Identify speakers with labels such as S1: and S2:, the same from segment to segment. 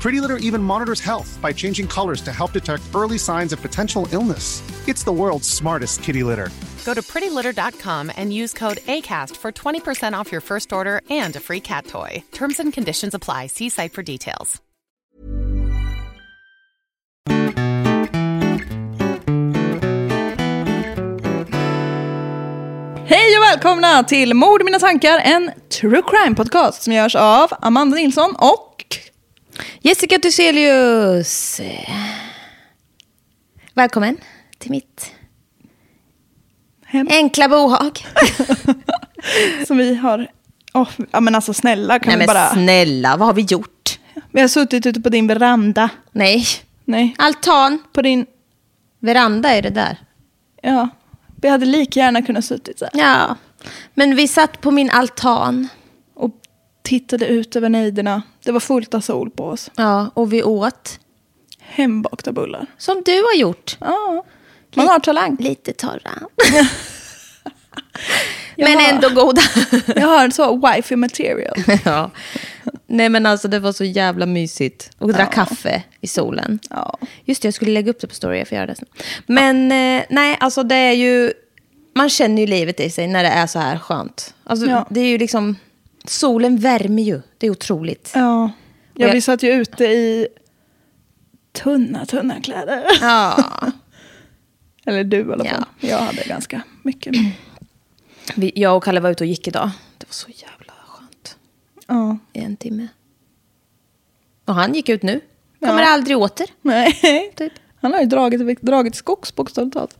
S1: Pretty Litter even monitors health by changing colors to help detect early signs of potential illness. It's the world's smartest kitty litter.
S2: Go to prettylitter.com and use code ACAST for 20% off your first order and a free cat toy. Terms and conditions apply. See site for details.
S3: Hej och välkomna till Mord i mina tankar, en true crime podcast som görs av Amanda Nilsson och...
S4: Jessica Thyselius! Välkommen till mitt
S3: Hem.
S4: enkla bohag.
S3: Som vi har... Åh, ja men alltså snälla kan
S4: Nej
S3: vi
S4: men
S3: bara...
S4: snälla, vad har vi gjort?
S3: vi har suttit ute på din veranda.
S4: Nej,
S3: Nej,
S4: altan,
S3: på din...
S4: veranda är det där.
S3: Ja, vi hade lika gärna kunnat suttit så här.
S4: Ja, men vi satt på min altan.
S3: Och tittade ut över nejderna. Det var fullt av sol på oss.
S4: Ja, och vi åt.
S3: Hembakta bullar.
S4: Som du har gjort.
S3: Ja, man har talang.
S4: Lite torra.
S3: Jag
S4: men
S3: har-
S4: ändå goda.
S3: Jag har så wifey material.
S4: ja. Nej men alltså det var så jävla mysigt. Och dra kaffe i solen.
S3: Ja.
S4: Just det, jag skulle lägga upp det på story, jag får göra det sen. Men eh, nej, alltså det är ju... Man känner ju livet i sig när det är så här skönt. Alltså
S3: Ja.
S4: det är ju liksom... Solen värmer ju, det är otroligt.
S3: Ja. Ja,
S4: jag-
S3: vi satt ju ute i tunna, tunna kläder.
S4: Ja.
S3: Eller du i alla
S4: Ja.
S3: fall. Jag hade ganska mycket.
S4: Vi, jag och Kalle var ute och gick idag. Det var så jävla skönt.
S3: Ja.
S4: I en timme. Och han gick ut nu. Kommer
S3: Ja.
S4: aldrig åter.
S3: Nej.
S4: Typ.
S3: Han har ju dragit, dragit skogs bokstavligt talat.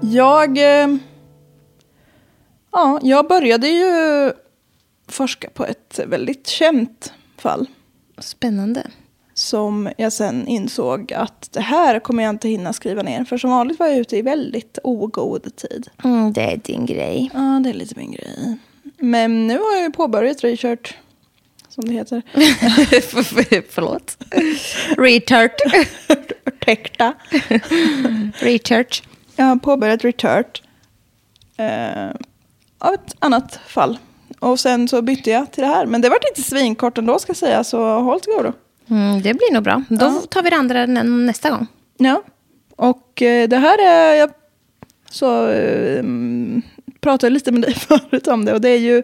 S3: Jag... eh, Ja, jag började ju forska på ett väldigt känt fall.
S4: Spännande.
S3: Som jag sen insåg att det här kommer jag inte hinna skriva ner. För som vanligt var jag ute i väldigt ogod tid.
S4: Mm, det är din grej.
S3: Ja, det är lite min grej. Men nu har jag ju påbörjat research, som det heter.
S4: Förlåt. Returt.
S3: Ursäkta.
S4: Returt.
S3: Jag har påbörjat returt eh, av ett annat fall. Och sen så bytte jag till det här. Men det var lite svinkort ändå ska jag säga, så håll till godo.
S4: Mm, det blir nog bra. Då tar vi det andra nä- nästa gång.
S3: Ja. Och eh, det här är... Jag så, eh, mm, pratade lite med dig förut om det. Och det är ju...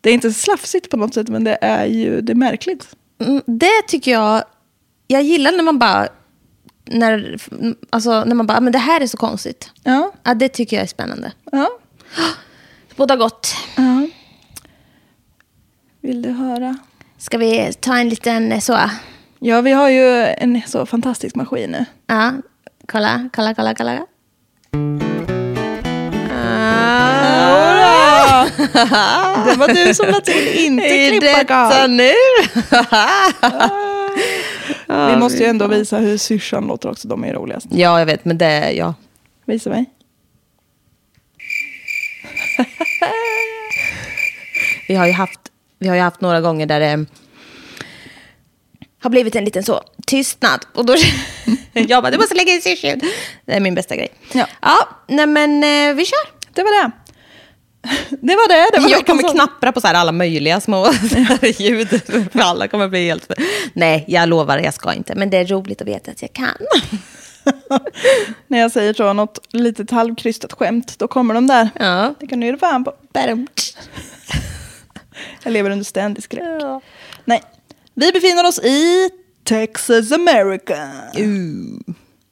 S3: Det är inte slafsigt på något sätt, men det är ju det är märkligt.
S4: Mm, Det tycker jag... Jag gillar när man bara... När, alltså, när man bara, men det här är så konstigt.
S3: Ja.
S4: Ja, det tycker jag är spännande.
S3: ja.
S4: Båda gott.
S3: Ja. Vill du höra?
S4: Ska vi ta en liten eh, så?
S3: Ja, vi har ju en så fantastisk maskin nu.
S4: Ja, kolla, kolla, kolla, kolla. Ah!
S3: Det var du som lade till inte klippa Karl.
S4: nu?
S3: Vi måste ju ändå visa hur syrsan låter också, de är roligast.
S4: Ja, jag vet, men det, ja.
S3: Visa mig.
S4: Vi har ju haft, vi har ju haft några gånger där det har blivit en liten så tystnad. Och då jag bara, du måste lägga in syrsljud. Det är min bästa grej.
S3: Ja.
S4: ja nej men eh, vi kör.
S3: Det var det. Det var det. det var
S4: Jag kommer
S3: veckans-
S4: knappra på så här alla möjliga små ljud. För alla kommer bli helt... Nej, jag lovar, jag ska inte. Men det är roligt att veta att jag kan.
S3: När jag säger så, något litet halvkrystat skämt, då kommer de där.
S4: Ja.
S3: Det kan du ge dig fan på.
S4: Badum.
S3: Jag lever under ständig skräck. Nej. Vi befinner oss i Texas, America.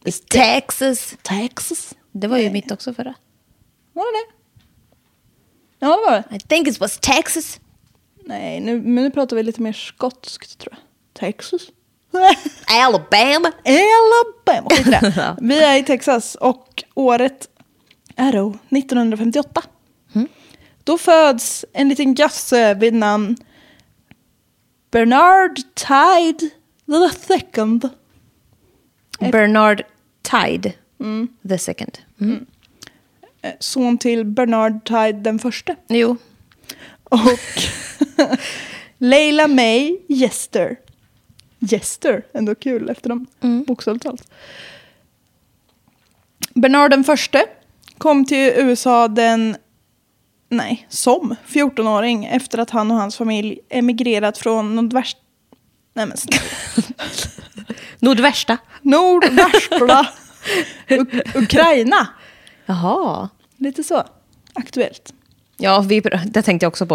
S4: It's Texas.
S3: Texas?
S4: Det var ju mitt också förra.
S3: Var det det? Ja, det var det.
S4: I think it was Texas.
S3: Nej, nu, men nu pratar vi lite mer skotskt tror jag. Texas?
S4: Alabama.
S3: Alabama. Skit i det.
S4: Ja.
S3: Vi är i Texas och året är då 1958. Mm. Då föds en liten gosse vid namn Bernard Tide the second.
S4: Bernard Tide. The second. Mm.
S3: Eh, Son till Bernard Tide den förste.
S4: Jo.
S3: Och Leila May Jester. Jester, ändå kul efter dem. Bokstavligt talat. Bernard den förste kom till USA den, nej, som 14-åring efter att han och hans familj emigrerat från nordväst... Nej men snälla.
S4: Nordvärsta.
S3: Nordvästla Uk- Ukraina.
S4: Jaha.
S3: Lite så aktuellt.
S4: Ja, vi, det tänkte jag också på.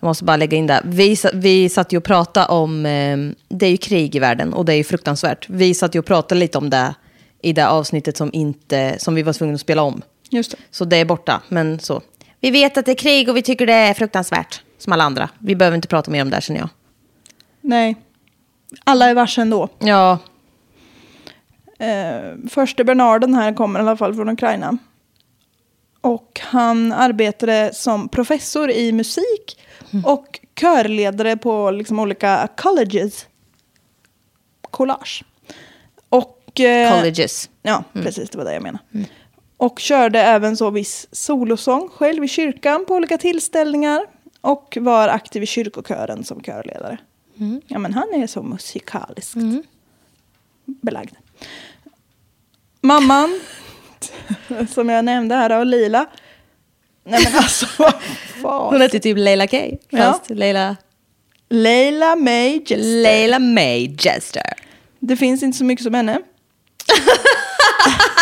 S4: Jag måste bara lägga in det. Vi, sa- vi satt ju och pratade om... Eh, det är ju krig i världen och det är ju fruktansvärt. Vi satt ju och pratade lite om det i det avsnittet som, inte, som vi var tvungna att spela om.
S3: Just det.
S4: Så det är borta, men så. Vi vet att det är krig och vi tycker det är fruktansvärt. Som alla andra. Vi behöver inte prata mer om det här, känner jag.
S3: Nej. Alla är varse ändå.
S4: Ja,
S3: Eh, förste Bernarden här kommer i alla fall från Ukraina. Och han arbetade som professor i musik och körledare på liksom olika colleges. Collage. Och, eh,
S4: colleges.
S3: Ja,
S4: Mm.
S3: precis. Det var det jag menade. Och körde även så viss solosång själv i kyrkan på olika tillställningar. Och var aktiv i kyrkokören som körledare.
S4: Mm.
S3: Ja, men han är så musikaliskt belagd. Mamman, som jag nämnde här, av Lila. Nej men alltså, vad
S4: Hon
S3: fan.
S4: heter typ Leila Kay. Fast Leila...
S3: Leila May Jester.
S4: Leila May Jester.
S3: Det finns inte så mycket som henne.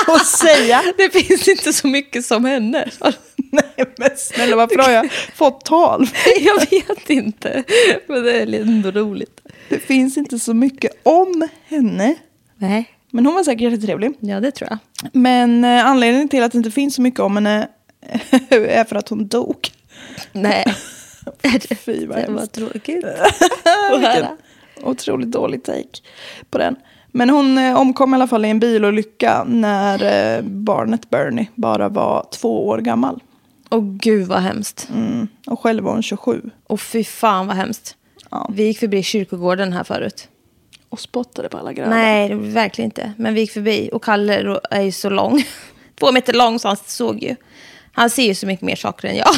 S3: Att säga.
S4: Det finns inte så mycket som henne.
S3: Nej men snälla varför har jag fått tal?
S4: Jag vet inte. Men det är ändå roligt.
S3: Det finns inte så mycket om henne.
S4: Nej.
S3: Men hon var säkert jättetrevlig.
S4: Ja, det tror jag.
S3: Men eh, anledningen till att det inte finns så mycket om henne är för att hon dog.
S4: Nej.
S3: Fy vad
S4: Det var
S3: hemskt.
S4: tråkigt.
S3: Vilken otroligt dålig take på den. Men hon eh, omkom i alla fall i en bilolycka när eh, barnet Bernie bara var två år gammal.
S4: Åh gud vad hemskt.
S3: Mm. Och själv var hon 27.
S4: Och fy fan vad hemskt.
S3: Ja.
S4: Vi gick förbi kyrkogården här förut.
S3: Och spottade på alla gröna.
S4: Nej, det gjorde vi verkligen inte. Men vi gick förbi. Och Kalle då är ju så lång. Två meter lång, så han såg ju. Han ser ju så mycket mer saker än jag.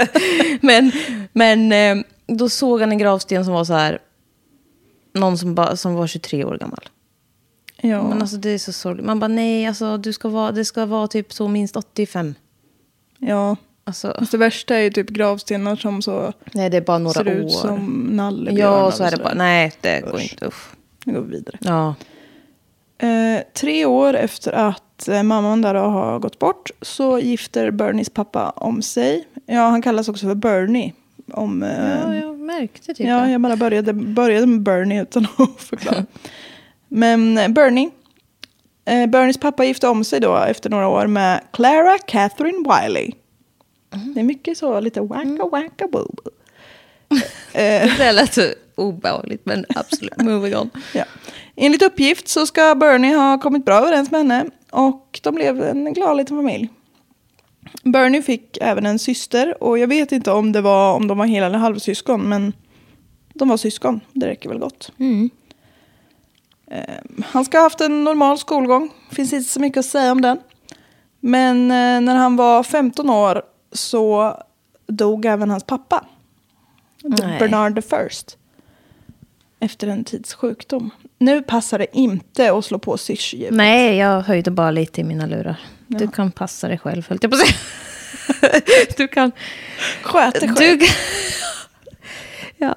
S4: men, men eh, då såg han en gravsten som var så här. Någon som, bara- som var 23 år gammal.
S3: Ja.
S4: Men alltså det är så sorgligt. Man bara nej, alltså du ska vara, det ska vara typ så minst 85.
S3: ja.
S4: Alltså,
S3: Fast det värsta är ju typ gravstenar som så
S4: nej, det är bara några
S3: ser
S4: år.
S3: ut som nallebjörnar.
S4: ja, så är det
S3: och
S4: bara. Nej, det
S3: Usch.
S4: går inte. Uff.
S3: Nu går vi vidare.
S4: Ja.
S3: Eh, tre år efter att eh, mamman där då har gått bort så gifter Bernies pappa om sig. Ja, han kallas också för Bernie. Om, eh,
S4: ja, jag märkte typ
S3: ja,
S4: det.
S3: jag bara började, började med Bernie utan att förklara. Men eh, Bernie. Eh, Bernies pappa gifte om sig då efter några år med Clara Catherine Wiley.
S4: Mm.
S3: Det är mycket så, lite wacka wacka boob.
S4: Det lät så obehagligt, men absolut. Moving on.
S3: Ja. Enligt uppgift så ska Bernie ha kommit bra överens med henne och de blev en glad liten familj. Bernie fick även en syster och jag vet inte om det var om de var hel eller halvsyskon men de var syskon, det räcker väl gott. Eh, Han ska ha haft en normal skolgång, finns inte så mycket att säga om den. Men eh, när han var 15 år så dog även hans pappa.
S4: Nej.
S3: Bernard the first. Efter en tids sjukdom. Nu passar det inte att slå på syrsljud.
S4: Nej, jag höjde bara lite i mina lurar. Du kan passa dig själv, höll jag på att säga. Du kan...
S3: Sköter
S4: Du
S3: själv.
S4: kan... Ja.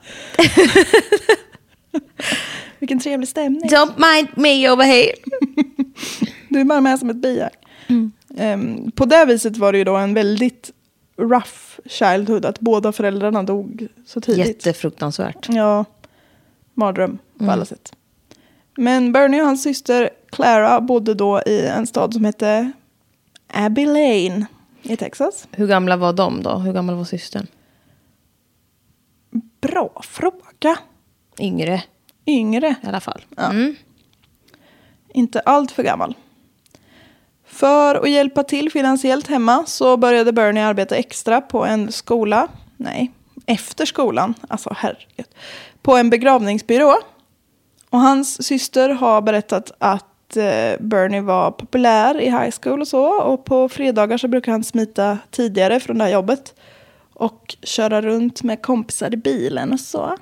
S3: Vilken trevlig stämning.
S4: Don't mind me over here.
S3: Du är bara med som ett bihang. Ehm, på det viset var det ju då en väldigt rough childhood, att båda föräldrarna dog så tidigt.
S4: Jättefruktansvärt.
S3: Ja, mardröm på alla sätt. Men Bernie och hans syster Clara bodde då i en stad som hette Abilene i Texas.
S4: Hur gamla var de då? Hur gammal var systern?
S3: Bra fråga.
S4: Yngre
S3: Yngre.
S4: i alla fall. Mm.
S3: inte allt för gammal. För att hjälpa till finansiellt hemma så började Bernie arbeta extra på en skola, nej, efter skolan, alltså herregud, på en begravningsbyrå. Och hans syster har berättat att eh, Bernie var populär i high school och så och på fredagar så brukar han smita tidigare från det här jobbet och köra runt med kompisar i bilen och så.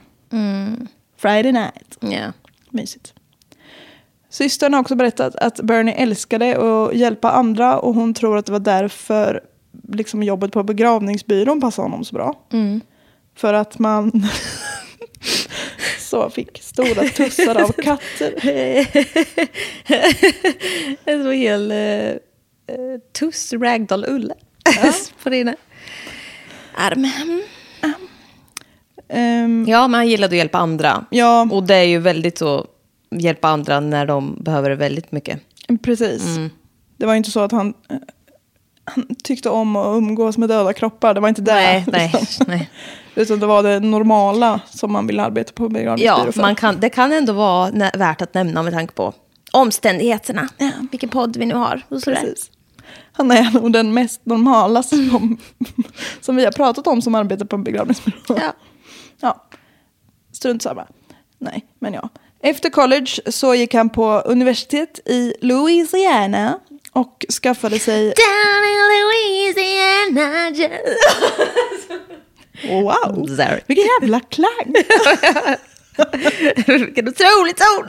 S3: Friday night.
S4: Ja.
S3: Mysigt. Systern har också berättat att Bernie älskade att hjälpa andra och hon tror att det var därför liksom jobbet på begravningsbyrån passade honom så bra.
S4: Mm.
S3: För att man så fick stora tussar av katter.
S4: En sån hel uh, tuss ragdoll-ull på dina arm.
S3: Ehm,
S4: Ja, men han gillade att hjälpa andra.
S3: ja,
S4: Och det är ju väldigt så, hjälpa andra när de behöver det väldigt mycket.
S3: precis.
S4: Mm.
S3: Det var ju inte så att han, eh, han tyckte om att umgås med döda kroppar. Det var inte det.
S4: Nej, nej,
S3: liksom.
S4: nej.
S3: Utan det var det normala som man ville arbeta på begravningsbyrå
S4: Ja,
S3: för.
S4: man kan, det kan ändå vara nä- värt att nämna med tanke på omständigheterna. Vilken podd vi nu har. Och sådär.
S3: Precis. Han är nog den mest normala
S4: Mm.
S3: som, som vi har pratat om som arbetar på en begravningsbyrå.
S4: Ja.
S3: Ja. Strunt samma. Nej, men ja. Efter college så gick han på universitet i Louisiana och skaffade sig...
S4: Down in Louisiana. just-
S3: Wow!
S4: Sorry.
S3: Vilken jävla klang!
S4: Vilken otrolig ton!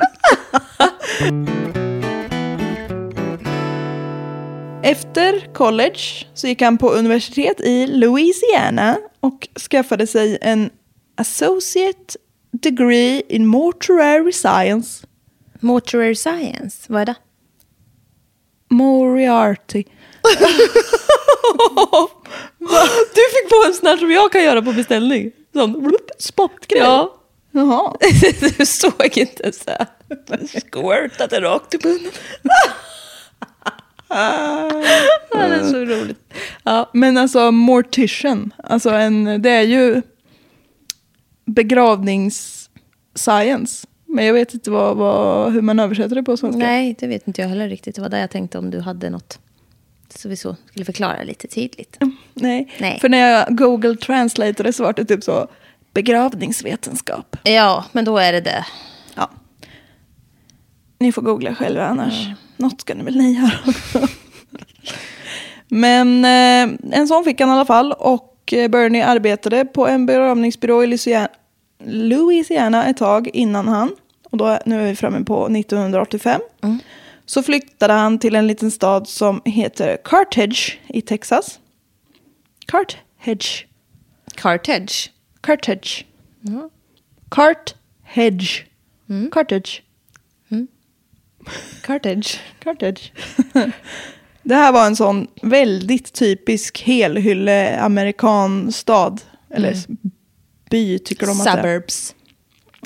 S3: Efter college så gick han på universitet i Louisiana och skaffade sig en associate degree in mortuary science.
S4: Mortuary science, vad är det?
S3: Moriarty.
S4: Du fick på en sån här som jag kan göra på beställning. Sån spottgrej. Ja.
S3: Jaha.
S4: Du såg inte ens det. Squirtade rakt i munnen. Ja, det är så roligt. Ja.
S3: Men alltså mortician, alltså en, det är ju begravningsscience. Men jag vet inte vad, vad, hur man översätter det på svenska.
S4: Nej, det vet inte jag heller riktigt. Det var där jag tänkte om du hade något. Så vi så skulle förklara lite tydligt.
S3: Nej.
S4: Nej.
S3: För när jag google translate det så var det typ så begravningsvetenskap.
S4: Ja, men då är det det.
S3: Ja. Ni får googla själva annars. Något ska ni väl ni göra också. Men eh, en sån fick han i alla fall. Och eh, Bernie arbetade på en begravningsbyrå i Louisiana- Louisiana ett tag innan han. Och då, nu är vi framme på 1985. Så flyttade han till en liten stad som heter Carthage i Texas. Carthage.
S4: Cartage.
S3: Carthage. Carthage. Carthage.
S4: Cartage.
S3: Carthage. det här var en sån väldigt typisk helhylle amerikan stad. Eller by tycker de att det är.
S4: Suburbs.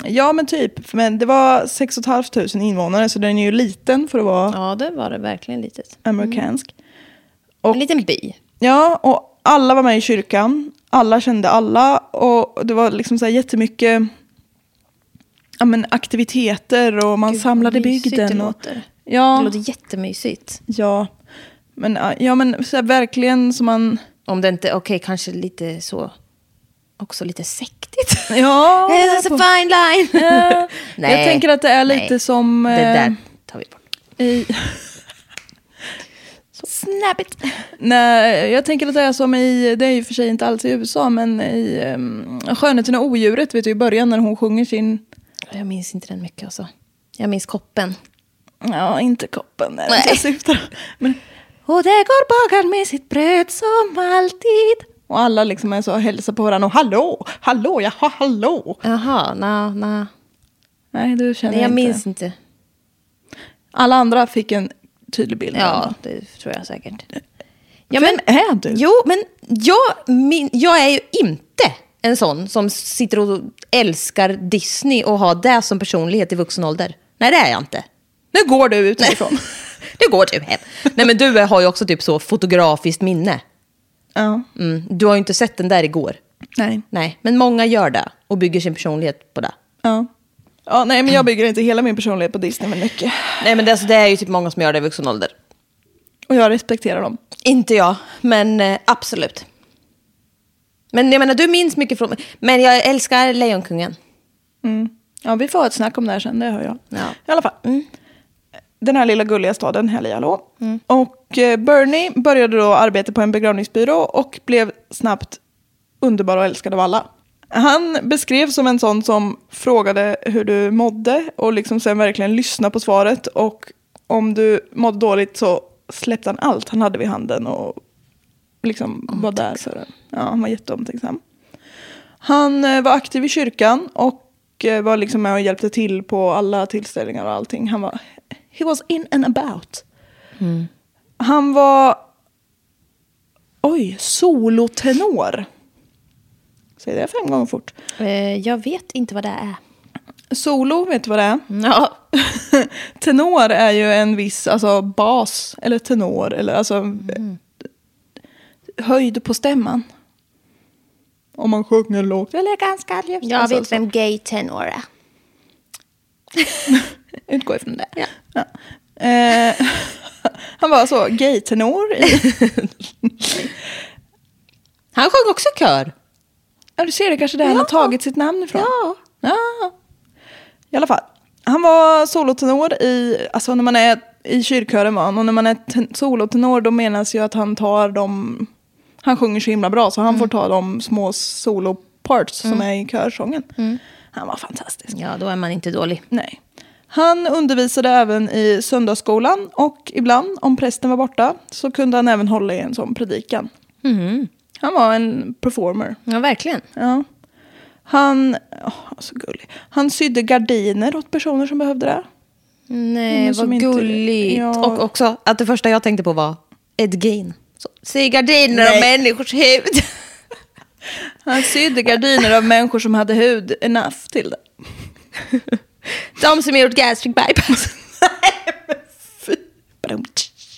S3: Ja men typ. Men det var 6 500 invånare så den är ju liten för att vara
S4: Ja, det var det verkligen litet.
S3: amerikansk.
S4: En liten by.
S3: Ja och alla var med i kyrkan. Alla kände alla. Och det var liksom så här jättemycket ja, men aktiviteter och man
S4: Gud, vad
S3: samlade
S4: mysigt
S3: bygden.
S4: Det
S3: Och,
S4: låter.
S3: ja,
S4: Det låter jättemysigt.
S3: ja. Men, ja, men så här, verkligen som man...
S4: Om det inte, okej, kanske lite så, också lite sektigt.
S3: Ja,
S4: Hey, that's a fine line. Nej.
S3: jag tänker att det är lite
S4: Nej.
S3: som...
S4: Det
S3: eh,
S4: där tar vi bort.
S3: I,
S4: Snap it.
S3: nej, jag tänker att det är som i, det är ju för sig inte alls i USA, men i um, Skönheten och odjuret vet du i början när hon sjunger sin...
S4: Jag minns inte den mycket alltså. Jag minns koppen.
S3: Ja, inte koppen är det jag syftar. Men
S4: Och det går bagaren med sitt bröd som alltid.
S3: Och alla liksom är så och hälsar på varandra och hallå, hallå, jaha, hallå.
S4: Jaha, na, na.
S3: Nej, du känner
S4: Nej, jag
S3: inte.
S4: minns inte.
S3: Alla andra fick en tydlig bild. av
S4: Ja,
S3: honom.
S4: det tror jag säkert.
S3: Vem är du?
S4: Jo, men jag, min, jag är ju inte en sån som sitter och älskar Disney och har det som personlighet i vuxen ålder. Nej, det är jag inte.
S3: Nu går du ut härifrån.
S4: Det går typ hem. Nej, men du har ju också typ så fotografiskt minne.
S3: ja.
S4: Mm. Du har ju inte sett den där igår.
S3: Nej.
S4: Nej, men många gör det och bygger sin personlighet på det.
S3: Ja. ja. Nej, men jag bygger inte hela min personlighet på Disney, men mycket.
S4: Nej, men det, alltså, det är ju typ många som gör det i vuxen ålder.
S3: Och jag respekterar dem.
S4: Inte jag, men eh, absolut. Men jag menar, du minns mycket från... Men jag älskar Lejonkungen.
S3: Mm. Ja, vi får ha ett snack om det här sen, det hör jag.
S4: Ja.
S3: I alla fall. Den här lilla gulliga staden, Hallihallå. Och eh, Bernie började då arbeta på en begravningsbyrå och blev snabbt underbar och älskad av alla. Han beskrevs som en sån som frågade hur du mådde och liksom sen verkligen lyssnade på svaret. Och om du mådde dåligt så släppte han allt han hade vid handen och liksom var där för den. Ja, han var jätteomtänksam. Han eh, var aktiv i kyrkan och eh, var liksom med och hjälpte till på alla tillställningar och allting. Han var, he was in and about.
S4: Mm.
S3: Han var, oj, solotenor. Säg det fem gånger fort.
S4: Eh, jag vet inte vad det är.
S3: Solo, vet du vad det är?
S4: Ja.
S3: tenor är ju en viss alltså, bas, eller tenor, eller alltså
S4: Mm.
S3: eh, höjd på stämman. Om man sjunger lågt eller ganska ljust.
S4: Jag
S3: alltså,
S4: vet
S3: så.
S4: vem gay tenor är.
S3: Utgå ifrån det. Ja. Eh, han var så gay-tenor. i-
S4: Han sjöng också kör.
S3: Ja, du ser, det kanske där han har
S4: Ja.
S3: tagit sitt namn ifrån.
S4: Ja.
S3: Ja. I alla fall. Han var solotenor i, alltså när man är i kyrkören var han, och när man är ten- solotenor då menas ju att han tar de, han sjunger så himla bra så han
S4: Mm.
S3: får ta de små solo-parts som är i körsången.
S4: Mm.
S3: Han var fantastisk.
S4: Ja, då är man inte dålig.
S3: Nej. Han undervisade även i söndagsskolan och ibland, om prästen var borta, så kunde han även hålla i en sån predikan. Han var en performer.
S4: Ja, verkligen.
S3: Ja. Han, åh, han var så gullig. han sydde gardiner åt personer som behövde det.
S4: Nej,
S3: Men som
S4: vad
S3: inte-
S4: gulligt.
S3: Ja.
S4: Och också att det första jag tänkte på var Ed Gein. Så, Se gardiner och människors hud.
S3: Han sydde gardiner av människor som hade hud enough till det.
S4: De som gjort gastric bypass.
S3: Badum, tsch.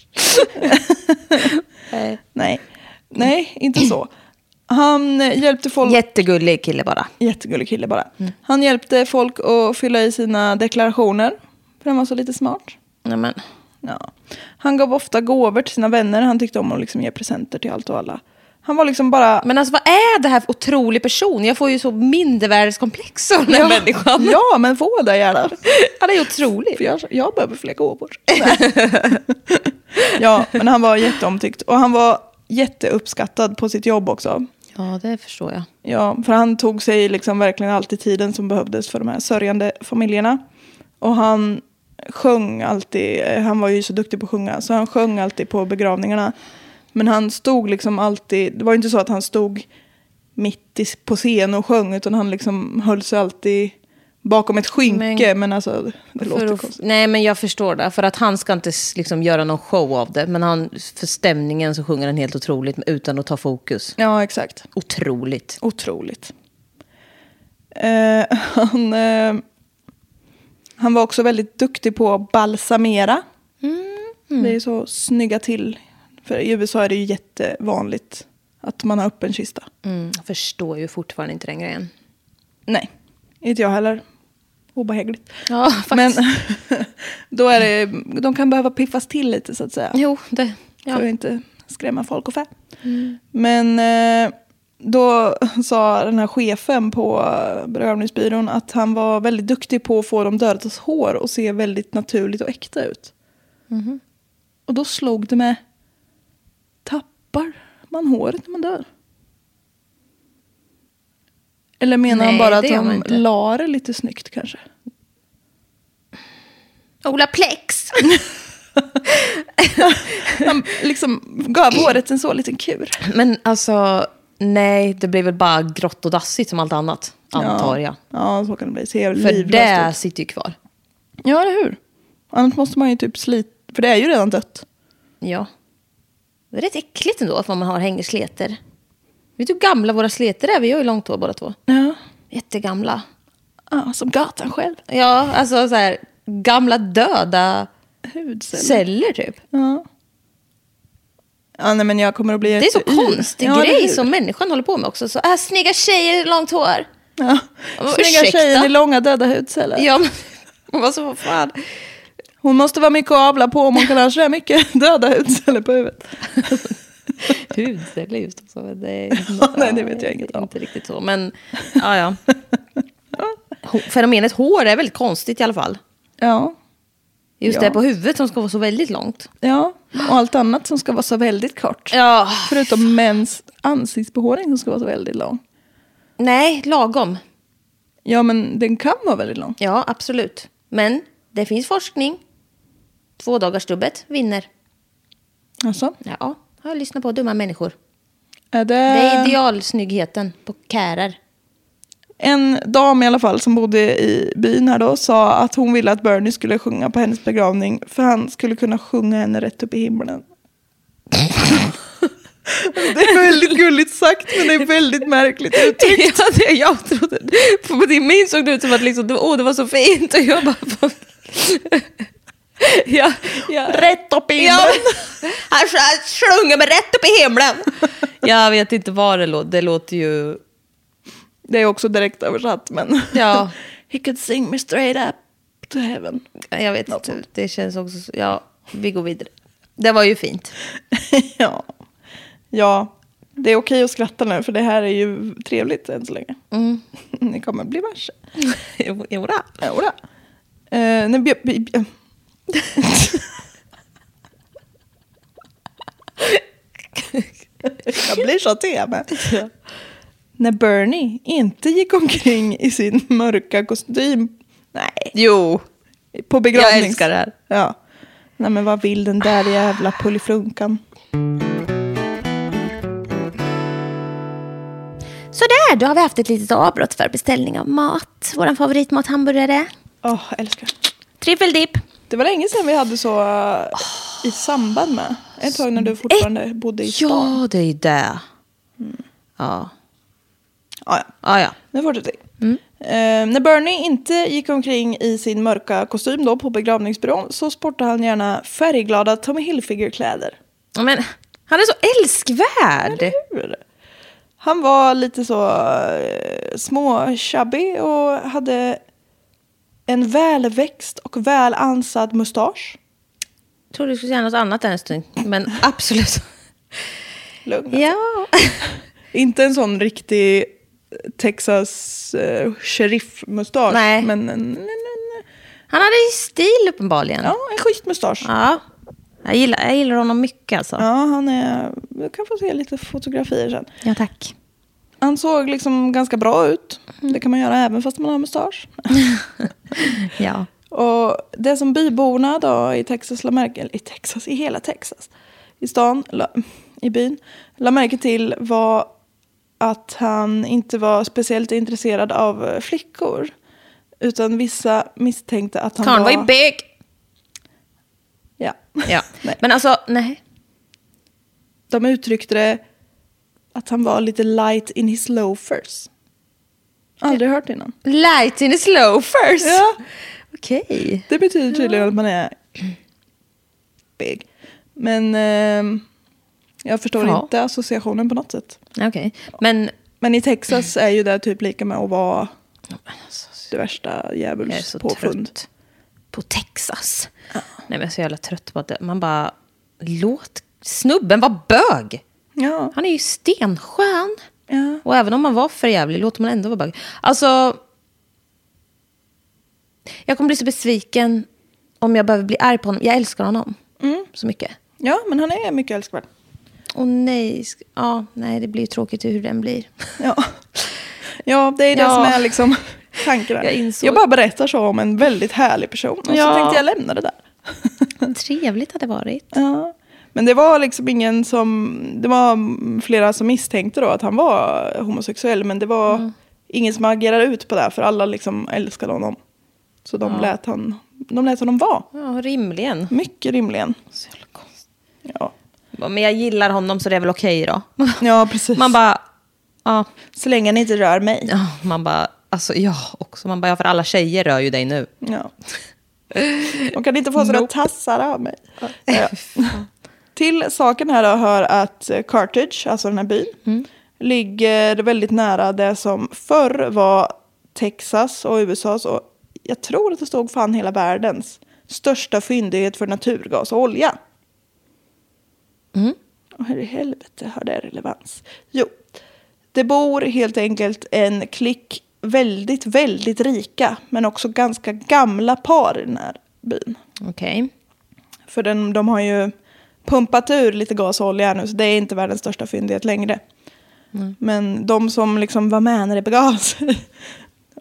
S3: Nej. Nej, inte så. Han hjälpte folk...
S4: Jättegullig kille bara.
S3: Jättegullig kille bara. Han hjälpte folk att fylla i sina deklarationer. För han var så lite smart.
S4: Nej, men.
S3: Ja. Han gav ofta gåvor till sina vänner. Han tyckte om att liksom ge presenter till allt och alla. Han var liksom bara...
S4: men alltså vad är det här för otrolig person? Jag får ju så mindervärdeskomplex av den här människan.
S3: Ja, men få det gärna.
S4: Han är ju otrolig.
S3: För jag, jag behöver fler gåvor. Nej. ja, men han var jätteomtyckt. Och han var jätteuppskattad på sitt jobb också.
S4: Ja, det förstår jag.
S3: Ja, för han tog sig liksom verkligen alltid tiden som behövdes för de här sörjande familjerna. Och han sjöng alltid, eh, han var ju så duktig på att sjunga, så han sjöng alltid på begravningarna. Men han stod liksom alltid, det var ju inte så att han stod mitt i, på scen och sjöng, utan han liksom höll sig alltid bakom ett skynke. Men, alltså, det
S4: För
S3: låter
S4: att-
S3: konstigt.
S4: nej, men jag förstår det. För att han ska inte s- liksom göra någon show av det. Men han, för stämningen så sjunger han helt otroligt utan att ta fokus.
S3: Ja, exakt.
S4: Otroligt.
S3: Otroligt. Eh, han, eh, han var också väldigt duktig på att balsamera. Det är ju så snygga till. För i USA är det ju jättevanligt att man har öppen kista.
S4: Mm, jag förstår ju fortfarande inte den grejen.
S3: Nej, inte jag heller. Obehagligt.
S4: Ja, faktiskt.
S3: Men då är det, de kan behöva piffas till lite så att säga.
S4: Jo, det... Ja. Mm.
S3: För att inte skrämma folk och fä. Men eh, då sa den här chefen på begravningsbyrån att han var väldigt duktig på att få de dödas hår att se väldigt naturligt och äkta ut.
S4: Mhm.
S3: Och då slog det mig. Tappar man håret när man dör? Eller menar han
S4: Nej,
S3: bara
S4: det
S3: att
S4: gör man
S3: de
S4: inte.
S3: la det lite snyggt kanske?
S4: Ola Plex!
S3: Han liksom gav året en så liten kur.
S4: Men alltså, nej, det blir väl bara grått och dassigt som allt annat, antar jag.
S3: Ja, så kan det bli. Ser
S4: För
S3: livlöst
S4: det
S3: ut.
S4: sitter ju kvar.
S3: Ja, eller hur? Annars måste man ju typ slita, för det är ju redan dött.
S4: Ja. Det är rätt äckligt ändå att man har hängsleter. Vet du hur gamla våra sleter är? Vi har ju långt hår båda två.
S3: Ja.
S4: Jättegamla.
S3: Ah, som gatan själv.
S4: Ja, alltså så här, gamla döda
S3: Hudceller.
S4: celler typ.
S3: Ja. ja, nej men jag kommer att bli...
S4: Det är så konstig
S3: Ja, eller
S4: grej
S3: hur?
S4: som människan håller på med också. Så, äh, snygga tjejer, långt hår.
S3: Ja.
S4: Vad,
S3: Snygga
S4: ursäkta?
S3: tjejer med långa döda hudceller.
S4: Ja, men man var så fan.
S3: Hon måste vara mycket att avla på om hon kan ha sådär mycket döda hudceller på huvudet.
S4: Hudceller just också. men Det är
S3: nej, det vet jag inget
S4: det är
S3: om.
S4: Inte riktigt så, men ja, ja. Ho- Fenomenet hår är väldigt konstigt i alla fall.
S3: Ja.
S4: Just
S3: Ja.
S4: det på huvudet som ska vara så väldigt långt.
S3: ja, och allt annat som ska vara så väldigt kort.
S4: Ja,
S3: Förutom mäns ansiktsbehåring som ska vara så väldigt lång.
S4: nej, lagom.
S3: Ja, men den kan vara väldigt lång.
S4: Ja, absolut. Men det finns forskning. Två vinner.
S3: Alltså,
S4: Ja, har jag lyssnat på dumma människor.
S3: är det...
S4: Det
S3: Eh.
S4: är idealsnyggheten på kärar.
S3: En dam i alla fall som bodde i byn här då sa att hon ville att Bernie skulle sjunga på hennes begravning för han skulle kunna sjunga henne rätt upp i himlen. det är väldigt gulligt sagt men det är väldigt märkligt uttryckt.
S4: Ja, det jag trodde. På din min såg det ut som att liksom, åh, det var så fint. Och jag bara... ja, ja.
S3: Rätt upp i himlen.
S4: Ja, men- han sj- sjunger mig rätt upp i himlen. Jag vet inte vad det låter. Det låter ju...
S3: Det är också direkt översatt men.
S4: Ja.
S3: He could sing me straight up to heaven.
S4: Jag vet inte. Det känns också... så- Ja, vi går vidare. Det var ju fint.
S3: ja. ja, det är okej att skratta nu för det här är ju trevligt än så länge. Ni kommer bli varse.
S4: Jo- Jodå.
S3: Jodå. Eh, nej, bjö- bjö- bjö- Jag blir så tema. När Bernie inte gick omkring i sin mörka kostym. Nej,
S4: Jo.
S3: på begravnings...
S4: Jag älskar det här.
S3: Ja. Nej men vad vill den där jävla pulliflunkan?
S4: Sådär, då har vi haft ett litet avbrott för beställning av mat. Vår favoritmat hamburgare.
S3: Åh, älskar.
S4: Tryffeldipp.
S3: Det var länge sedan vi hade så eh, i samband med. Ett tag när du fortfarande bodde i stan. Ja.
S4: Ja, det är ju det.
S3: Mm.
S4: Ja. Ah,
S3: ja.
S4: Ja, ja.
S3: Nu fortsätter vi.
S4: Mm.
S3: Eh, när Bernie inte gick omkring i sin mörka kostym då på begravningsbyrån så sportade han gärna färgglada Tommy Hilfiger-kläder.
S4: Ja, Men han är så älskvärd.
S3: Hur? Han var lite så eh, små chubby och hade en välväxt och väl ansad mustasch.
S4: Tror du skulle säga något annat där en stund. Men absolut.
S3: Lugn.
S4: Ja.
S3: Inte en sån riktig eh, Texas eh, sheriff-mustasch.
S4: Nej.
S3: Men en, en, en,
S4: Han hade ju stil uppenbarligen.
S3: ja, en schysst mustasch.
S4: Ja. Jag, gillar, jag gillar honom mycket alltså.
S3: Ja, han är... Du kan få se lite fotografier sen.
S4: Ja, tack.
S3: Han såg liksom ganska bra ut. Det kan man göra även fast man har mustasch.
S4: Ja.
S3: Och det som byborna då i Texas la märke... Eller i Texas, i hela Texas. I stan, la, i byn, la märke till var att han inte var speciellt intresserad av eh, flickor. Utan vissa misstänkte att han
S4: Karln var ju bög.
S3: Ja.
S4: Ja.
S3: Nej.
S4: Men alltså, nej.
S3: De uttryckte det att han var lite light in his loafers. Aldrig hört innan.
S4: Light in his loafers.
S3: Ja.
S4: Okej.
S3: Det betyder tydligen att man är big. Men ehm, jag förstår
S4: Ja.
S3: inte associationen på något sätt.
S4: Okej. Men
S3: Men i Texas är ju det typ lika med att vara det värsta
S4: alltså, jag är
S3: djävuls
S4: så
S3: påfund.
S4: trött på Texas. Nej, men jag är så jävla trött på att det- man bara... Låt snubben vara bög.
S3: Ja.
S4: Han är ju stenskön.
S3: ja.
S4: Och även om man var för jävlig låter man ändå vara bög. Alltså... Jag kommer bli så besviken om jag behöver bli arg på honom. Jag älskar honom så mycket.
S3: ja, men han är mycket älskvärd.
S4: Och nej, sk- ja, nej, det blir ju tråkigt hur den blir.
S3: Ja. ja, det är det
S4: Ja.
S3: som är liksom tanken. där.
S4: Jag insåg-
S3: jag bara berättar så om en väldigt härlig person. Och
S4: Ja.
S3: så tänkte jag lämna det där.
S4: Trevligt hade det varit.
S3: Ja. Men det var liksom ingen som... Det var flera som misstänkte då att han var homosexuell. Men det var ingen som agerade ut på det. För alla liksom älskade honom. Så de, lät, han, de lät honom vara.
S4: Ja, rimligen.
S3: Mycket rimligen.
S4: Så jävla konstigt.
S3: Ja,
S4: Men jag gillar honom så det är väl okej då.
S3: ja precis.
S4: Man bara, ja.
S3: så länge ni inte rör mig.
S4: Ja, Man bara, alltså ja också. Man bara, ja, för alla tjejer rör ju dig nu.
S3: Ja. De kan inte få sådana tassar av mig. Ja. Till saken här då hör att eh, Carthage, alltså den här byn, ligger väldigt nära det som förr var Texas och USAs och jag tror att det stod fan hela världens största fyndighet för naturgas och olja. Och hur i helvete har det relevans? Jo, det bor helt enkelt en klick väldigt, väldigt rika men också ganska gamla par i den här byn.
S4: Okej.
S3: För den, de har ju pumpat ur lite gas och olja nu så det är inte världens största fyndighet längre. Men de som liksom var med när det begav sig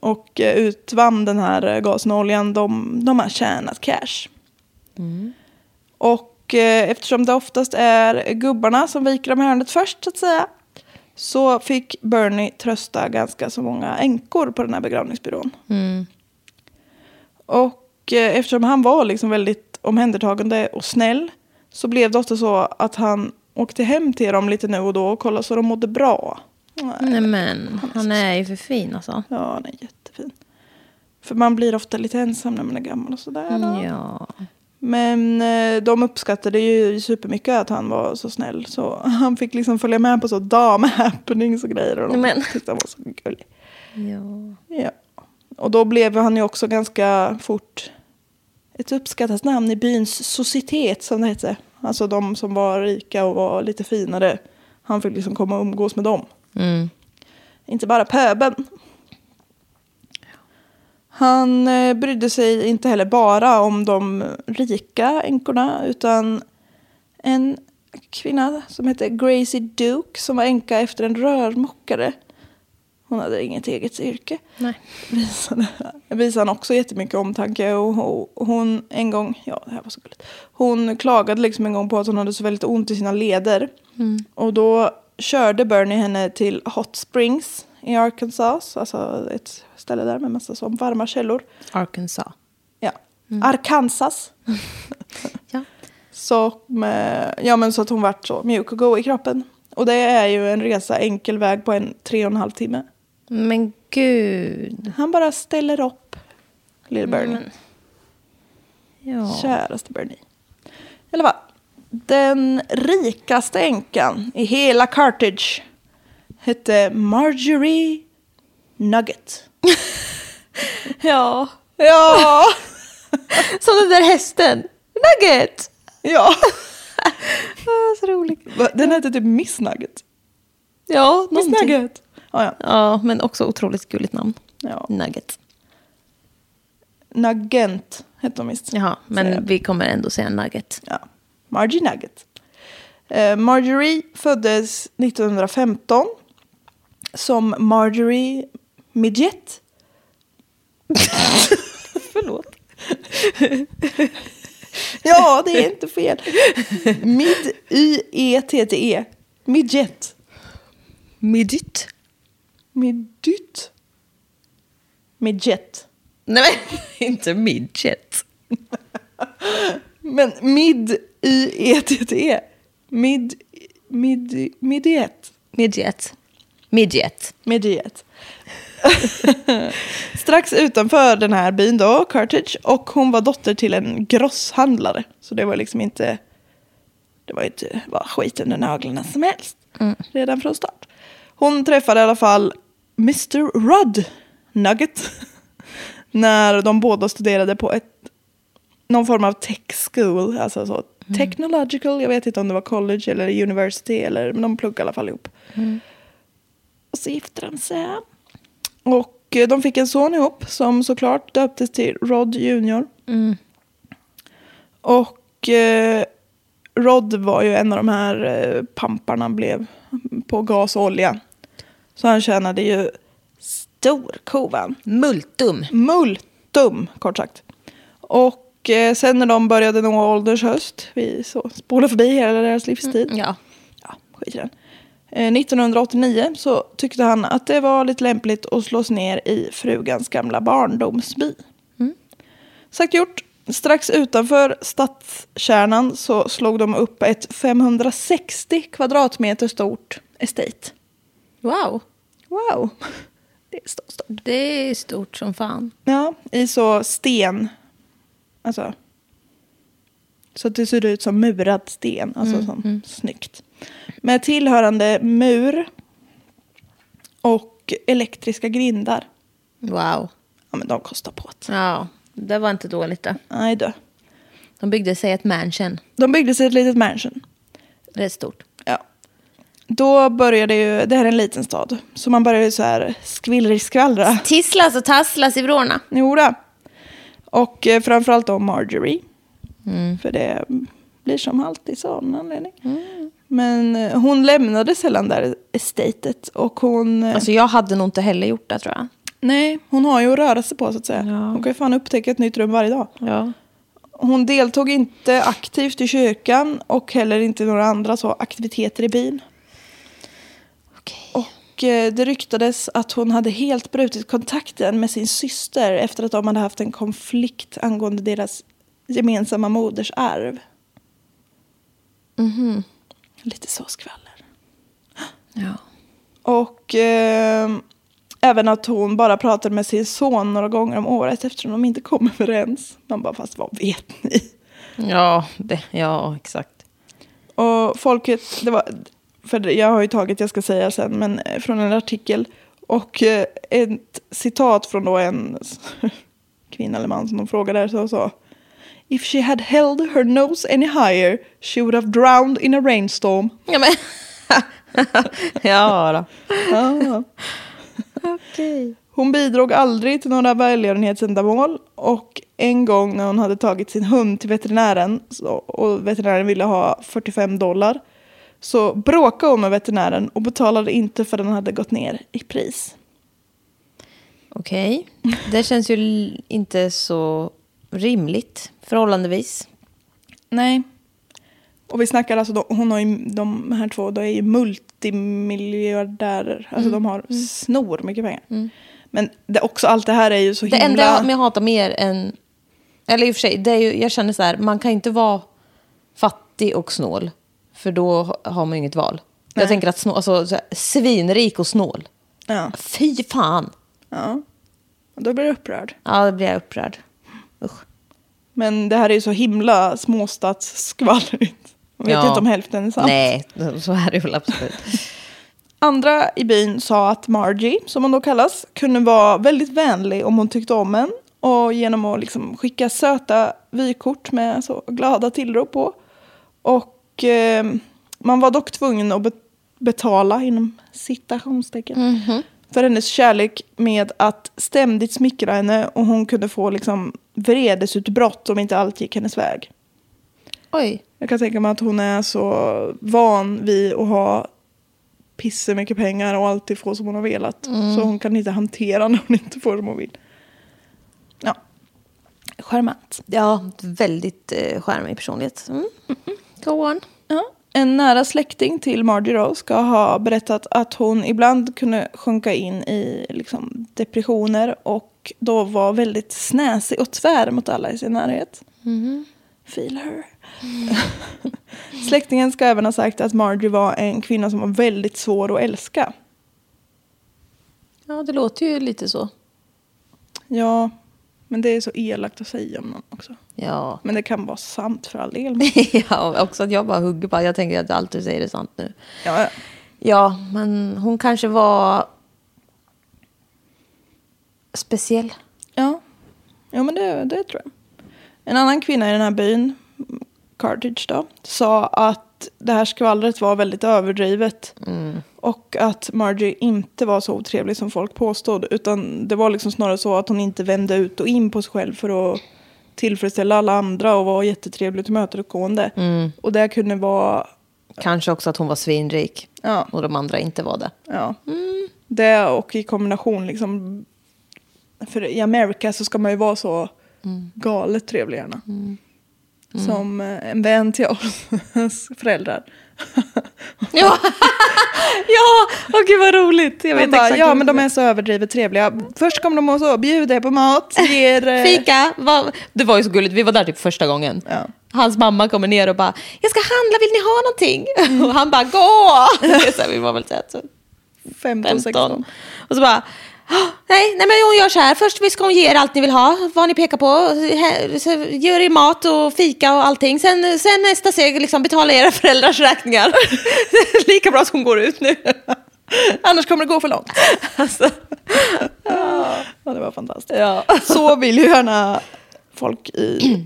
S3: och eh, utvann den här eh, gasen och oljan, de, de har tjänat cash. Och eh, eftersom det oftast är gubbarna som viker om hörnet först så att säga så fick Bernie trösta ganska så många änkor på den här begravningsbyrån. Och eh, eftersom han var liksom väldigt omhändertagande och snäll så blev det ofta så att han åkte hem till dem lite nu och då och kollade så de mådde bra.
S4: Nej men, han är ju för fin alltså.
S3: Ja, han är jättefin. För man blir ofta lite ensam när man är gammal och sådär.
S4: Mm, Ja.
S3: Men eh, de uppskattade ju supermycket att han var så snäll. Så han fick liksom följa med på så damhappenings och grejer. Och de
S4: Men.
S3: tyckte han var så gullig.
S4: ja.
S3: Ja. Och då blev han ju också ganska fort ett uppskattat namn i byns societet som det hette. Alltså de som var rika och var lite finare. Han fick liksom komma och umgås med dem. Inte bara pöben. Han eh, brydde sig inte heller bara om de rika änkorna utan en kvinna som hette Gracie Duke som var änka efter en rörmokare. Hon hade inget eget yrke
S4: Nej.
S3: visade, visade han också jättemycket omtanke. Och, och hon en gång, ja det här var så gulligt. Hon klagade liksom en gång på att hon hade så väldigt ont i sina leder. Och då körde Bernie henne till Hot Springs i Arkansas. Alltså ett ställe där med massa så varma källor.
S4: Arkansas.
S3: Ja, Arkansas.
S4: Ja.
S3: Som, eh, ja, men så att hon vart så mjuk och god i kroppen. Och det är ju en resa enkel väg på en tre och en halv timme.
S4: Men gud.
S3: Han bara ställer upp, Lille Bernie.
S4: Ja.
S3: Käraste Bernie. I alla fall, den rikaste änkan i hela Cartage hette Marjorie Nugget.
S4: ja.
S3: Ja!
S4: Som den där hästen. Nugget!
S3: ja.
S4: Ah, så roligt.
S3: Va, Den hette typ Miss Nugget.
S4: Ja,
S3: Miss
S4: någonting.
S3: Nugget. Ja, ja.
S4: Ja, men också otroligt gulligt namn.
S3: ja.
S4: Nugget.
S3: Nugent hette hon visst.
S4: Jaha, men
S3: Säger jag.
S4: vi kommer ändå säga nugget.
S3: Ja. Margie Nugget. Eh, Marjorie föddes 1915 som Marjorie Midget. Förlåt. ja, det är inte fel. E Mid-Y-E-T-T-E. Midget.
S4: Midget.
S3: Midget. Midget.
S4: Nej men, inte midget.
S3: Men E mid-Y-E-T-T-E. Mid... Mid... Midget.
S4: Midget. Midget.
S3: Mediet. Strax utanför den här byn då, Carthage, och hon var dotter till en grosshandlare. Så det var liksom inte, det var inte bara skit under naglarna som helst. Redan från start. Hon träffade i alla fall Mr. Rudd Nugget. När de båda studerade på ett, någon form av tech school, alltså så technological, jag vet inte om det var college eller university, eller, men de pluggade i alla fall ihop. Och så gifte de sig. Och eh, de fick en son ihop som såklart döptes till Rod Junior. Och eh, Rod var ju en av de här eh, pamparna blev på gas och olja. Så han tjänade ju storkovan.
S4: Multum.
S3: Multum, kort sagt. Och Och eh, sen när de började nå ålders höst, vi så spolar förbi hela deras livstid.
S4: Ja.
S3: Ja, skit i den. Eh, 1989 så tyckte han att det var lite lämpligt att slås ner i frugans gamla barndomsby. Sagt gjort. Strax utanför stadskärnan så slog de upp ett 560 kvadratmeter stort estate.
S4: Wow.
S3: Wow! Det är stort. stort.
S4: Det är stort som fan.
S3: Ja, i så sten. Alltså. Så att det ser ut som murad sten. Alltså som, snyggt. Med tillhörande mur. Och elektriska grindar.
S4: Wow.
S3: Ja men de kostar på att.
S4: Ja, det var inte dåligt då.
S3: Nej då.
S4: De byggde sig ett mansion.
S3: De byggde sig ett litet mansion.
S4: Rätt stort.
S3: Ja. Då började ju, det här är en liten stad. Så man började ju så här skvillrig-skvallra.
S4: Tisslas och tasslas i vrårna.
S3: Jodå. Och eh, framförallt då Marjorie. För det blir som alltid så av någon anledning. Men eh, hon lämnade sällan där estatet. Och hon, eh,
S4: Alltså jag hade nog inte heller gjort det tror jag.
S3: nej, hon har ju att röra sig på så att säga. Hon kan ju fan upptäcka ett nytt rum varje dag.
S4: Ja.
S3: Hon deltog inte aktivt i kyrkan och heller inte i några andra så aktiviteter i byn.
S4: Okej.
S3: Och eh, det ryktades att hon hade helt brutit kontakten med sin syster efter att de hade haft en konflikt angående deras gemensamma moders arv. Lite så skvaller.
S4: Ja.
S3: Och eh, även att hon bara pratade med sin son några gånger om året eftersom de inte kom överens. Man bara, fast vad vet ni?
S4: Ja, det, ja, exakt.
S3: Och folket, det var, för jag har ju tagit, jag ska säga sen, men eh, från en artikel. Och eh, ett citat från då en s- kvinna eller man som de frågade där så sa If she had held her nose any higher she would have drowned in a rainstorm.
S4: Ja, men... ja då.
S3: Ah.
S4: Okej.
S3: Hon bidrog aldrig till några välgörenhetsändamål och en gång när hon hade tagit sin hund till veterinären så- och veterinären ville ha 45 dollar så bråkade hon med veterinären och betalade inte förrän den hade gått ner i pris.
S4: Okej. Det känns ju l- inte så rimligt, förhållandevis.
S3: Nej. Och vi snackar alltså, de, hon har ju, de här två de är ju multimiljardärer.
S4: Mm.
S3: Alltså de har snor mycket pengar. Men det, också allt det här är ju så
S4: Det
S3: himla...
S4: enda jag, jag hatar mer än... Eller i och för sig, det är ju, jag känner så här, man kan inte vara fattig och snål. För då ha- har man ju inget val. Jag tänker att snål, alltså, så här, svinrik och snål.
S3: ja,
S4: Fy fan!
S3: ja. Då blir jag upprörd.
S4: Ja, då blir jag upprörd. Usch.
S3: Men det här är ju så himla småstadsskvallrigt. Man vet
S4: Ja.
S3: ju inte om hälften är sant.
S4: Nej, så är det väl absolut.
S3: Andra i byn sa att Margie, som hon då kallas, kunde vara väldigt vänlig om hon tyckte om en. Och genom att liksom skicka söta vykort med så glada tillrop på. Och eh, man var dock tvungen att be- betala, inom citationstecken,
S4: Mhm.
S3: för hennes kärlek med att ständigt smickra henne och hon kunde få liksom vredesutbrott om inte allt gick hennes väg.
S4: Oj.
S3: Jag kan tänka mig att hon är så van vid att ha pisse mycket pengar och alltid få som hon har velat. Så hon kan inte hantera när hon inte får som hon vill. Ja. Charmant.
S4: Ja, väldigt eh, charmig personlighet. Mm. Go on.
S3: Ja. En nära släkting till Margie då ska ha berättat att hon ibland kunde sjunka in i liksom, depressioner och då var väldigt snäsig och tvär mot alla i sin närhet. Feel her. Släktingen ska även ha sagt att Margie var en kvinna som var väldigt svår att älska.
S4: Ja, det låter ju lite så.
S3: Ja, men det är så elakt att säga om någon också.
S4: Ja.
S3: Men det kan vara sant för all del.
S4: ja, också att jag bara hugger på. Jag tänker att allt du säger är sant nu.
S3: Ja, ja.
S4: Ja, men hon kanske var speciell.
S3: Ja, ja men det, det tror jag. En annan kvinna i den här byn, Cartage då, sa att det här skvallret var väldigt överdrivet. Och att Margie inte var så otrevlig som folk påstod. Utan det var liksom snarare så att hon inte vände ut och in på sig själv för att tillfredsställa alla andra och vara jättetrevlig och tillmötesgående. Och det kunde vara,
S4: Kanske också att hon var svinrik
S3: ja,
S4: och de andra inte var det.
S3: ja.
S4: Mm.
S3: Det och i kombination liksom, för i Amerika så ska man ju vara så
S4: Mm.
S3: galet trevlig hjärna. Som eh, en vän till oss föräldrar.
S4: Ja, ja. och gud vad roligt. Jag
S3: Man
S4: vet
S3: bara,
S4: exakt
S3: ja
S4: vad
S3: men
S4: du
S3: de är så överdrivet trevliga. Först kommer de och så bjuder på mat, ger... eh,
S4: Fika, vad- det var ju så gulligt. Vi var där typ första gången.
S3: Ja.
S4: Hans mamma kommer ner och bara, jag ska handla, vill ni ha någonting? Och han bara, gå! Det är så här, vi var väl så här, så
S3: 15,
S4: 15.
S3: 16.
S4: Och så bara, "Åh, nej, nej men hon gör så här, först vi ska hon ge er allt ni vill ha, vad ni pekar på, Här, så gör er mat och fika och allting. Sen, sen nästa steg, liksom, betala era föräldrars räkningar. Lika bra som hon går ut nu.
S3: Annars kommer det gå för långt.
S4: Alltså,
S3: Ja, det var fantastiskt.
S4: ja.
S3: Så vill ju gärna folk i...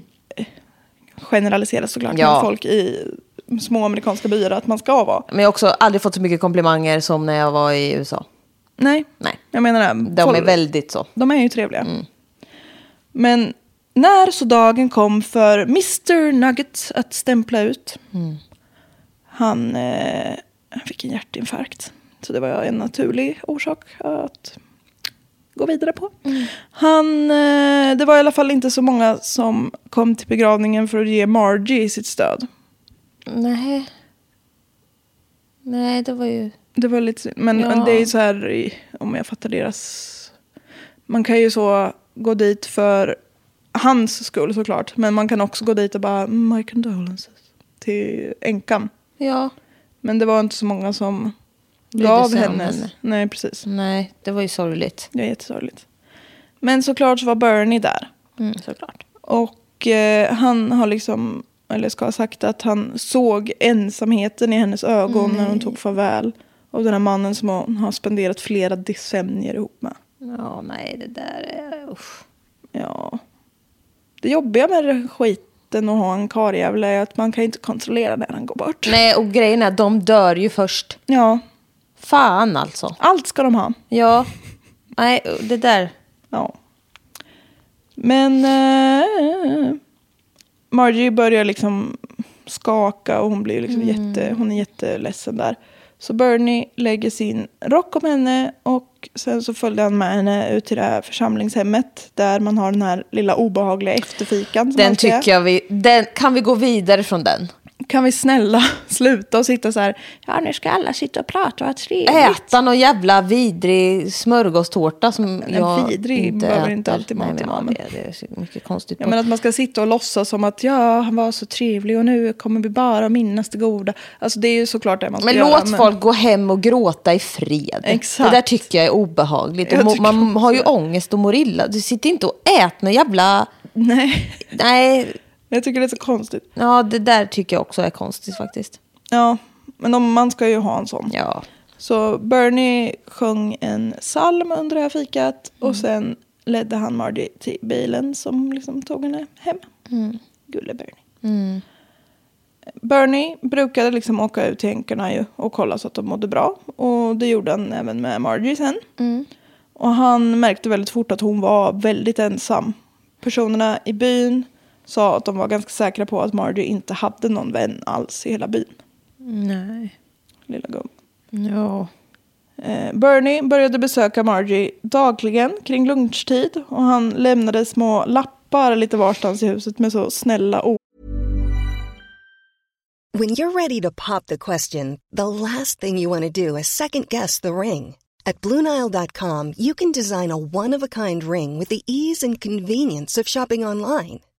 S3: Generaliseras såklart,
S4: Ja.
S3: men folk i små amerikanska byar att man ska vara.
S4: Men jag har också aldrig fått så mycket komplimanger som när jag var i USA.
S3: Nej,
S4: Nej.
S3: jag menar det.
S4: De är
S3: Folk-
S4: väldigt så.
S3: De är ju trevliga. Men när så dagen kom för Mr Nugget att stämpla ut. Han, eh, han fick en hjärtinfarkt. Så det var en naturlig orsak att gå vidare på. Han, eh, det var i alla fall inte så många som kom till begravningen för att ge Margie sitt stöd.
S4: Nej. Nej, det var ju...
S3: Det var lite synd. Men
S4: Ja.
S3: det är ju så här, i- om jag fattar deras... Man kan ju så gå dit för hans skull såklart. Men man kan också gå dit och bara, "Mm, my condolences. Till änkan.
S4: Ja.
S3: Men det var inte så många som
S4: Brydde
S3: gav
S4: sig om
S3: hennes.
S4: henne.
S3: Nej, precis.
S4: Nej, det var ju sorgligt.
S3: Det är jättesorgligt. Men såklart så var Bernie där.
S4: Mm, såklart.
S3: Och eh, han har liksom, eller ska ha sagt att han såg ensamheten i hennes ögon när hon tog farväl. av den här mannen som hon har spenderat flera decennier ihop med.
S4: Ja, nej, det där är... Usch.
S3: Ja. Det jobbiga med den skiten att ha en karljävel är att man kan ju inte kontrollera när han går bort.
S4: Nej, och grejen är att de dör ju först.
S3: Ja,
S4: Fan alltså.
S3: allt ska de ha.
S4: Ja. Nej, det där.
S3: Ja. Men eh, Margie börjar liksom skaka och hon blir liksom
S4: Mm.
S3: jätte, hon är jätteledsen där. Så Bernie lägger sin rock om henne och sen så följde han med henne ut till det här församlingshemmet där man har den här lilla obehagliga efterfikan. som
S4: Den
S3: man ska göra.
S4: tycker jag vi... Den, kan vi gå vidare från den?
S3: Kan vi snälla sluta och sitta så här, ja nu ska alla sitta och prata och ha trevligt.
S4: Äta någon jävla vidrig smörgåstårta som
S3: en
S4: jag
S3: vidrig behöver inte
S4: äter.
S3: alltid
S4: Nej,
S3: maten
S4: men
S3: vara,
S4: ja,
S3: men-
S4: det, det är så mycket konstigt.
S3: Ja, men att man ska sitta och låtsas som att ja, han var så trevlig och nu kommer vi bara minnas det goda. Alltså det är ju såklart det man ska
S4: Men
S3: göra.
S4: låt folk gå hem och gråta i fred.
S3: Exakt.
S4: Det där tycker jag är obehagligt.
S3: Jag
S4: Och må,
S3: tycker
S4: man
S3: också
S4: har ju
S3: det.
S4: ångest och mår illa. Du sitter inte och äter någon jävla...
S3: Nej,
S4: Nej,
S3: jag tycker det är så konstigt.
S4: ja, det där tycker jag också är konstigt faktiskt.
S3: Ja, men de, man ska ju ha en sån.
S4: Ja.
S3: Så Bernie sjöng en psalm under det här fikat och sen ledde han Margie till bilen som liksom tog henne hem. Gulle Bernie. Bernie brukade liksom åka ut till änkorna ju och kolla så att de mådde bra. Och det gjorde han även med Margie sen. Och han märkte väldigt fort att hon var väldigt ensam. Personerna i byn sa att de var ganska säkra på att Margie inte hade någon vän alls i hela byn.
S4: Nej.
S3: Lilla gumman.
S4: Ja.
S3: Eh, Bernie började besöka Margie dagligen kring lunchtid och han lämnade små lappar lite varstans i huset med så snälla ord.
S5: When you're ready to pop the question, the last thing you want to do is second guess the ring. At Bluenile.com, you can design a one of a kind ring with the ease and convenience of shopping online.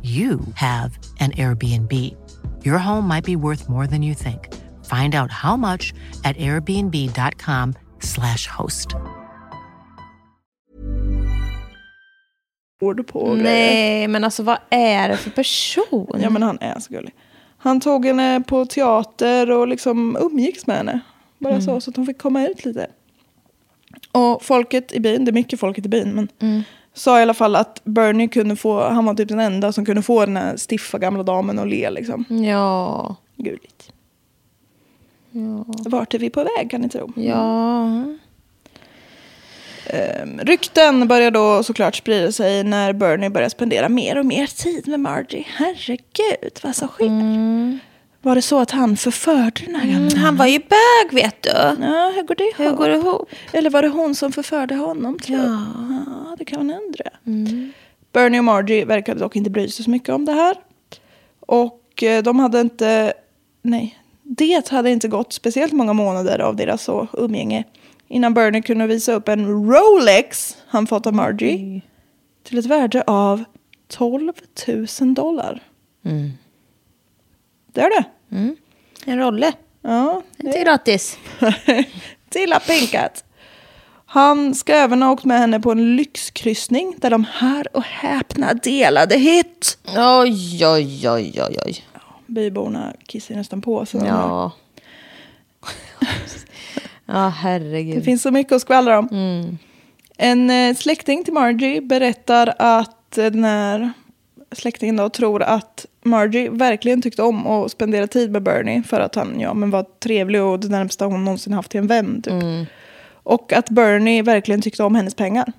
S6: you have an Airbnb. Your home might be worth more than you think. Find out how much at airbnb.com/slash host.
S3: ord på och grejer.
S4: Nej, men alltså vad är det för person?
S3: Ja men han är så gullig. Han tog henne på teater och liksom umgicks med henne. Bara
S4: Mm.
S3: så, så att hon fick komma ut lite. Och folket i byn, det är mycket folket i byn, men
S4: Mm.
S3: sa i alla fall att Bernie kunde få, han var typ den enda som kunde få den här stiffa gamla damen att le liksom.
S4: Ja.
S3: Gulligt. Vart är vi på väg kan ni tro?
S4: Ja.
S3: Ehm, Rykten börjar då såklart sprida sig när Bernie börjar spendera mer och mer tid med Margie. Herregud, vad som sker.
S4: Mm.
S3: Var det så att han förförde den här gamla?
S4: Han var ju bög vet du.
S3: Ja, hur går det ihop?
S4: Mm. Hur går det ihop?
S3: Eller var det hon som förförde honom? Tror jag? ja, det kan man undra.
S4: Mm.
S3: Bernie och Margie verkade dock inte bry sig så mycket om det här. Och eh, de hade inte... Nej, det hade inte gått speciellt många månader av deras så umgänge innan Bernie kunde visa upp en Rolex han fått av Margie
S4: Mm.
S3: till ett värde av 12 000 dollar. Det är det.
S4: Mm. En rolle.
S3: Ja, det
S4: Inte gratis.
S3: Tilla pinkat. Han ska även ha åkt med henne på en lyxkryssning där de, hör och häpna, delade hytt.
S4: Oj, oj, oj, oj, oj.
S3: Byborna kissade nästan på sig.
S4: Ja. ja,
S3: Det
S4: herregud.
S3: finns så mycket att skvallra om. En eh, släkting till Margie berättar att eh, den här släktingen då tror att Margie verkligen tyckte om att spendera tid med Bernie för att han ja, men var trevlig och det närmsta hon någonsin haft till en vän. Typ. Och att Bernie verkligen tyckte om hennes pengar.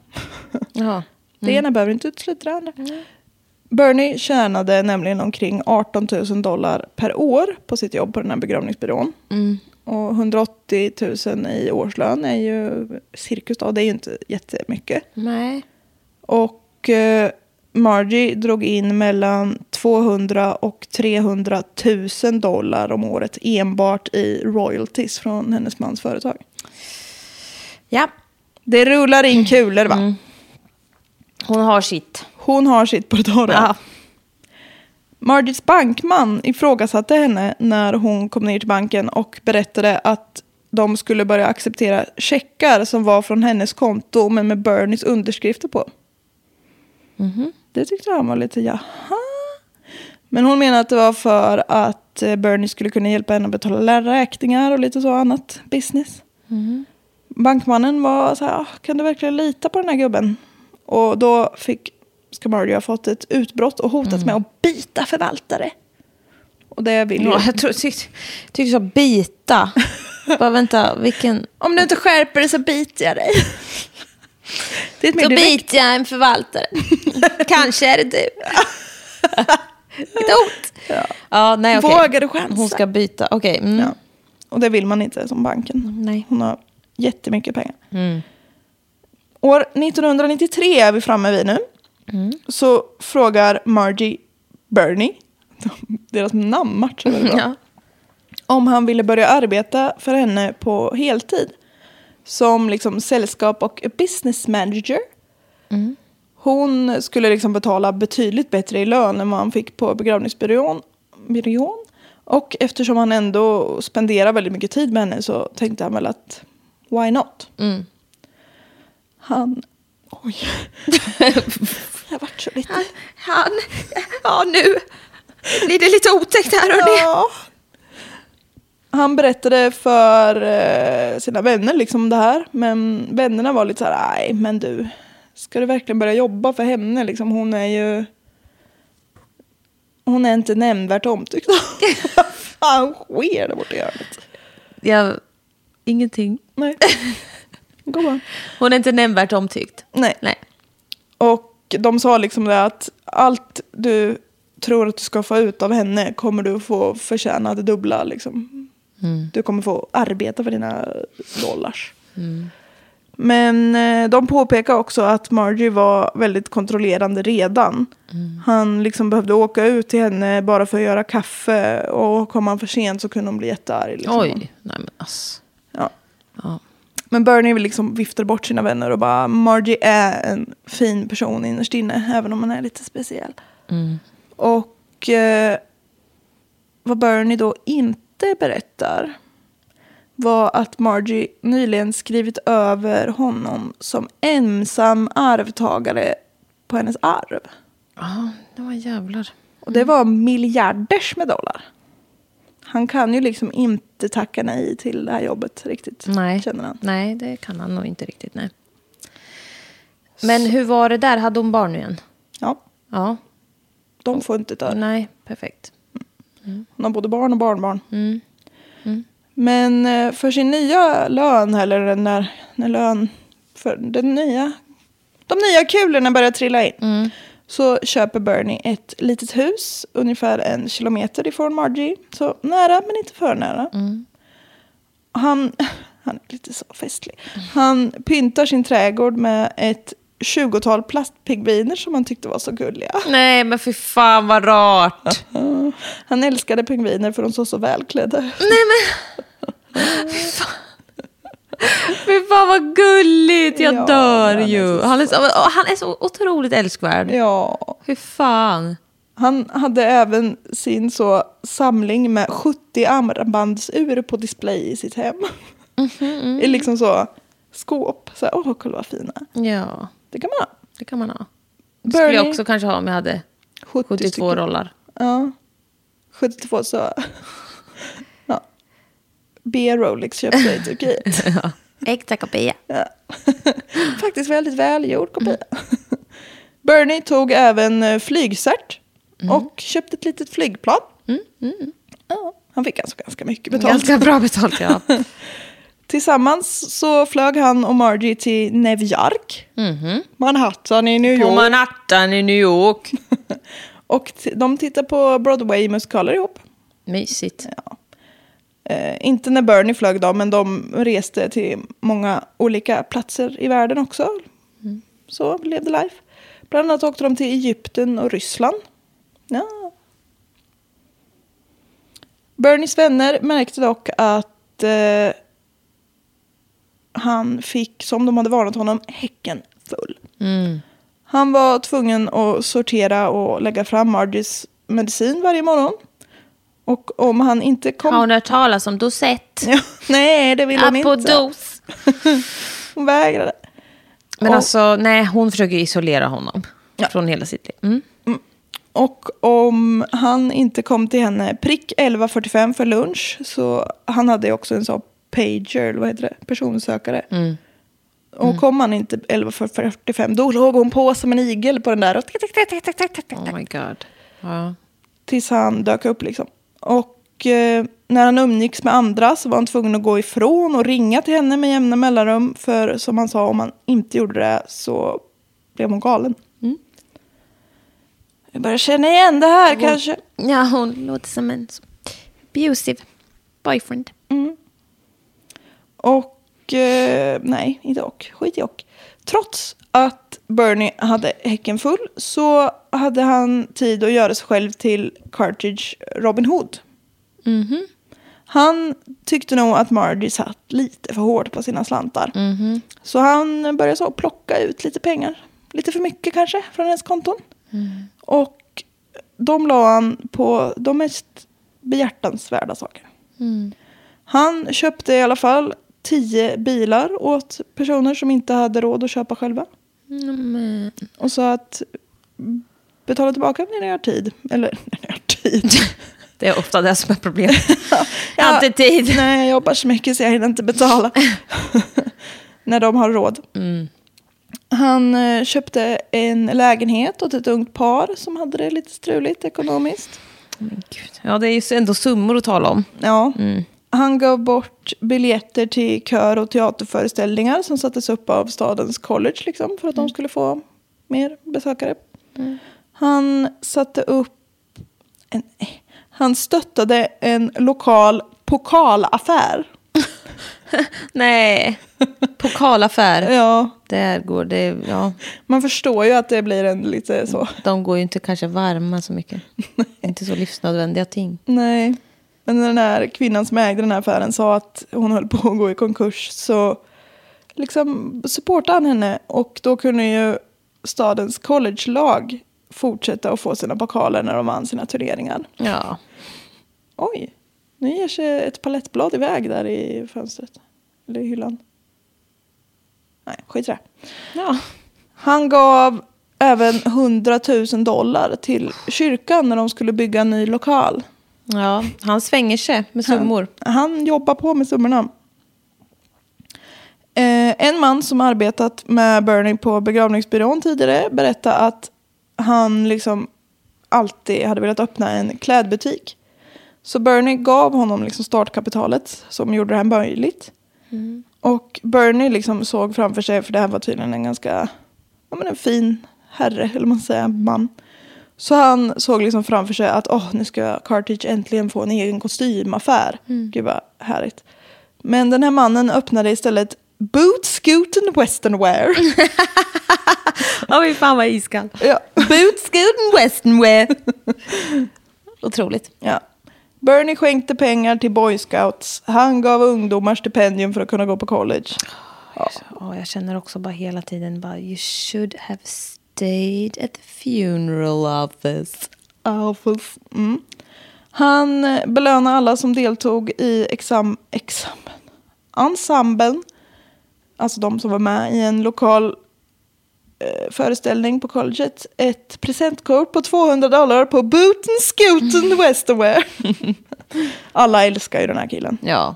S4: Ja.
S3: Det ena behöver inte utesluta det andra.
S4: Mm.
S3: Bernie tjänade nämligen omkring 18 000 dollar per år på sitt jobb på den här begravningsbyrån.
S4: Mm.
S3: Och 180 000 i årslön är ju cirkus då, det är ju inte jättemycket.
S4: Nej.
S3: Och eh, Margie drog in mellan 200 och 300 000 dollar om året enbart i royalties från hennes mans företag.
S4: Ja,
S3: Det rullar in kulor va?
S4: Mm. hon har sitt.
S3: Hon har sitt på det torra.
S4: Ja.
S3: Margits bankman ifrågasatte henne när hon kom ner till banken och berättade att de skulle börja acceptera checkar som var från hennes konto men med Bernies underskrifter på. Det tyckte han var lite jaha. Men hon menade att det var för att eh, Bernie skulle kunna hjälpa henne att betala lärarräkningar och lite så annat business. Bankmannen var så här, "Ah, kan du verkligen lita på den här gubben? Och då fick Scamardi ha fått ett utbrott och hotat med att bita förvaltare. Och det vill ju...
S4: Ja, jag tror, tyckte, tyckte jag sa bita. Bara vänta, vilken...
S3: Om du inte skärper dig så biter jag dig. Det är ett mer
S4: Så
S3: direkt...
S4: biter jag en förvaltare. Kanske är det du. Ett hot. Ja. nej, okej.
S3: Vågar du chansa?
S4: Hon ska byta, okej. mm.
S3: Ja. Och det vill man inte som banken.
S4: Nej. Mm.
S3: Hon har jättemycket pengar. År 1993 är vi framme vid nu.
S4: Mm.
S3: Så frågar Margie Bernie, deras namn matchar väldigt bra,
S4: Ja.
S3: om han ville börja arbeta för henne på heltid. Som liksom sällskap och business manager. Hon skulle liksom betala betydligt bättre i lön än vad han fick på begravningsbyrån. byrån. Och eftersom han ändå spenderar väldigt mycket tid med henne så tänkte han väl att why not? Han... Oj. Jag vart så lite...
S4: Han, ja nu blir det lite otäckt här
S3: Ja. Han berättade för eh, sina vänner liksom det här. Men vännerna var lite så här, nej men du. Ska du verkligen börja jobba för henne? Liksom, hon är ju... Hon är inte nämnvärt omtyckt. Vad fan sker där borta i hörnet?
S4: Jag, ingenting.
S3: Nej. Gå bara.
S4: Hon är inte nämnvärt omtyckt.
S3: Nej.
S4: Nej.
S3: Och de sa liksom det att allt du tror att du ska få ut av henne kommer du få förtjäna det dubbla. Liksom.
S4: Mm.
S3: Du kommer få arbeta för dina dollars.
S4: Mm.
S3: Men eh, de påpekar också att Margie var väldigt kontrollerande redan.
S4: Mm.
S3: Han liksom behövde åka ut till henne bara för att göra kaffe och kom han för sent så kunde hon bli jättearg. Liksom.
S4: Oj, nej men ass.
S3: Ja.
S4: Ja.
S3: Men Bernie vill liksom viftar bort sina vänner och bara Margie är en fin person innerst inne även om han är lite speciell.
S4: Mm.
S3: Och eh, vad Bernie då inte berättar var att Margie nyligen skrivit över honom som ensam arvtagare på hennes arv.
S4: Ja, det var jävlar.
S3: Och
S4: Mm.
S3: det var miljarders med dollar. Han kan ju liksom inte tacka nej till det här jobbet riktigt,
S4: Nej.
S3: känner han.
S4: Nej, det kan han nog inte riktigt. Nej. Men hur var det där? Hade hon barn nu igen?
S3: Ja,
S4: Ja.
S3: de får inte dö.
S4: Nej, perfekt.
S3: Hon har både barn och barnbarn. Men eh, för sin nya lön, eller den där när lön, för den nya, de nya kulorna börjar trilla in. Så köper Bernie ett litet hus, ungefär en kilometer ifrån Margie. Så nära, men inte för nära. Och Han, han är lite så festlig. Han pyntar sin trädgård med ett 20-tal plastpingviner som han tyckte var så gulliga.
S4: Nej, men fy fan vad rart.
S3: Han älskade pingviner för de såg så välklädda
S4: Fy fan vad gulligt, jag
S3: Ja,
S4: dör
S3: han är
S4: ju.
S3: så
S4: Han är, så, åh, han är så otroligt älskvärd.
S3: Ja,
S4: Fy fan.
S3: han hade även sin så samling med 70 armbandsur på display i sitt hem.
S4: Mhm,
S3: I
S4: mm.
S3: liksom så skåp. Så här, åh, kolla vad fina.
S4: Ja,
S3: Det kan man ha.
S4: det kan man ha. Det skulle jag
S3: Bernie,
S4: också kanske ha om jag hade
S3: 70
S4: 72
S3: stycken.
S4: rollar.
S3: Ja. 72 så... ja. Bea Rolex köpte i Turkiet.
S4: Äkta kopia.
S3: Ja. Faktiskt väldigt välgjord kopia. Bernie tog även eh, flygcert och köpte ett litet flygplan. Ja, han fick alltså ganska mycket betalt.
S4: Ganska bra betalt, ja.
S3: Tillsammans så flög han och Margie till New York, Manhattan i New
S4: På
S3: York.
S4: Manhattan i New York.
S3: och t- de tittar på Broadway-musikaler ihop.
S4: Mysigt.
S3: Eh, inte när Bernie flög då, men de reste till många olika platser i världen också. Så levde life. Bland annat åkte de till Egypten och Ryssland. Ja. Bernies vänner märkte dock att eh, han fick, som de hade varnat honom, häcken full. Han var tvungen att sortera och lägga fram Margies medicin varje morgon. Och om han inte kom...
S4: Har hon hört talas om Dosett?
S3: Ja, nej, det ville hon inte.
S4: Apodos.
S3: Hon vägrade.
S4: Men
S3: Och-
S4: alltså, nej, hon försöker isolera honom från hela sitt liv. Mm.
S3: Och om han inte kom till henne prick 11.45 för lunch, så han hade ju också en sån pager, eller vad heter det, personsökare.
S4: Mm.
S3: Och kom han inte 11.45, då låg hon på som en igel på den där. Och tick, tick, tick, tick, tick, tick, tick, tick.
S4: Oh my god. Ja.
S3: tills han dök upp liksom. Och eh, när han umgicks med andra så var han tvungen att gå ifrån och ringa till henne med jämna mellanrum. För som han sa, om han inte gjorde det så blev hon galen. Jag börjar känna igen det här kanske.
S4: ja, hon låter som en så- abusive boyfriend.
S3: Och eh, nej, inte och. Skit i och. Trots att Bernie hade häcken full så hade han tid att göra sig själv till Cartridge Robin Hood.
S4: Mhm,
S3: Han tyckte nog att Margie satt lite för hårt på sina slantar. Så han började så plocka ut lite pengar. Lite för mycket kanske från hennes konton. Och de la han på de mest behjärtansvärda saker.
S4: mm.
S3: Han köpte i alla fall tio bilar åt personer som inte hade råd att köpa själva. Och sa att mm, betala tillbaka när ni har tid. Eller när ni har tid.
S4: Det är ofta det som är problemet. Jag
S3: Ja,
S4: har inte tid.
S3: Nej, jag jobbar så mycket så jag hinner inte betala. när de har råd.
S4: Mm.
S3: Han eh, köpte en lägenhet åt ett ungt par som hade det lite struligt ekonomiskt.
S4: Gud. Ja, det är ju ändå summor att tala om.
S3: Ja.
S4: Mm.
S3: Han gav bort biljetter till kör och teaterföreställningar som sattes upp av stadens college liksom, för att
S4: Mm.
S3: de skulle få mer besökare. Han satte upp... En, eh, han stöttade en lokal pokalaffär.
S4: Nej, pokalaffär.
S3: Ja,
S4: Där går det, ja.
S3: man förstår ju att det blir en lite så...
S4: De går ju inte kanske varma så mycket. inte så livsnödvändiga ting.
S3: Nej. Men när den här kvinnan som ägde den här affären sa att hon höll på att gå i konkurs så liksom supportade han henne och då kunde ju stadens collegelag fortsätta att få sina pokaler när de vann sina turneringar.
S4: Ja.
S3: Oj, nu ger sig ett palettblad iväg där i fönstret. Eller i hyllan. Nej, skit i det.
S4: ja.
S3: Han gav även 100 000 dollar till kyrkan när de skulle bygga en ny lokal.
S4: Ja, han svänger sig med summor.
S3: Han jobbar på med summorna. Eh, en man som arbetat med Bernie på begravningsbyrån tidigare berättade att han liksom alltid hade velat öppna en klädbutik. Så Bernie gav honom liksom startkapitalet som gjorde det här möjligt.
S4: Mm.
S3: Och Bernie liksom såg framför sig, för det här var tydligen en ganska ja, men en fin herre, eller man säger man. Så han såg liksom framför sig att åh, nu ska Cartridge äntligen få en egen kostymaffär. Gud vad härligt. Men den här mannen öppnade istället Boot Scooten Westernwear.
S4: Ja, fy fan vad iskall.
S3: ja.
S4: Boots, good and westernwear. Otroligt.
S3: Ja. Bernie skänkte pengar till Boy Scouts. Han gav ungdomar stipendium för att kunna gå på college.
S4: Ja, jag känner också bara hela tiden bara you should have stayed at the funeral office.
S3: Alfus. Mm. Han eh, belönade alla som deltog i exam, examen, ensemblen. Alltså de som var med i en lokal eh, föreställning på colleget. Ett presentkort på 200 dollar på Booten Scooten Westerwear. alla älskar ju den här killen.
S4: Ja,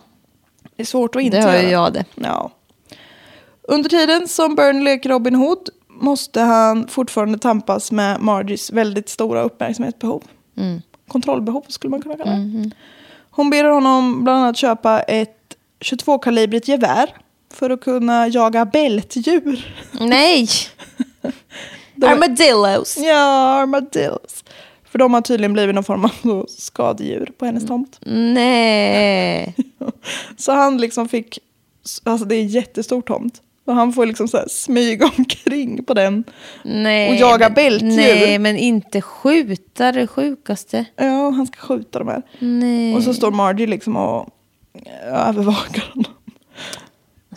S3: Det är svårt att inte
S4: det hör
S3: göra.
S4: ju jag det.
S3: Ja. Under tiden som Bernie leker Robin Hood måste han fortfarande tampas med Margies väldigt stora uppmärksamhetsbehov. Kontrollbehov skulle man kunna kalla det. Hon ber honom bland annat köpa ett 22-kalibrigt gevär för att kunna jaga bältdjur.
S4: Nej!
S3: De-
S4: Armadillos.
S3: Ja, armadillos. För de har tydligen blivit någon form av skadedjur på hennes tomt.
S4: Nej.
S3: Så han liksom fick, alltså det är en jättestor tomt. Och han får liksom så här smyga omkring på den.
S4: Nej.
S3: Och jaga
S4: men-
S3: bältdjur.
S4: Nej, men inte skjuta det sjukaste.
S3: Ja, han ska skjuta de här.
S4: Nej.
S3: Och
S7: Mm.
S3: så står Margie liksom och eh, övervakar honom.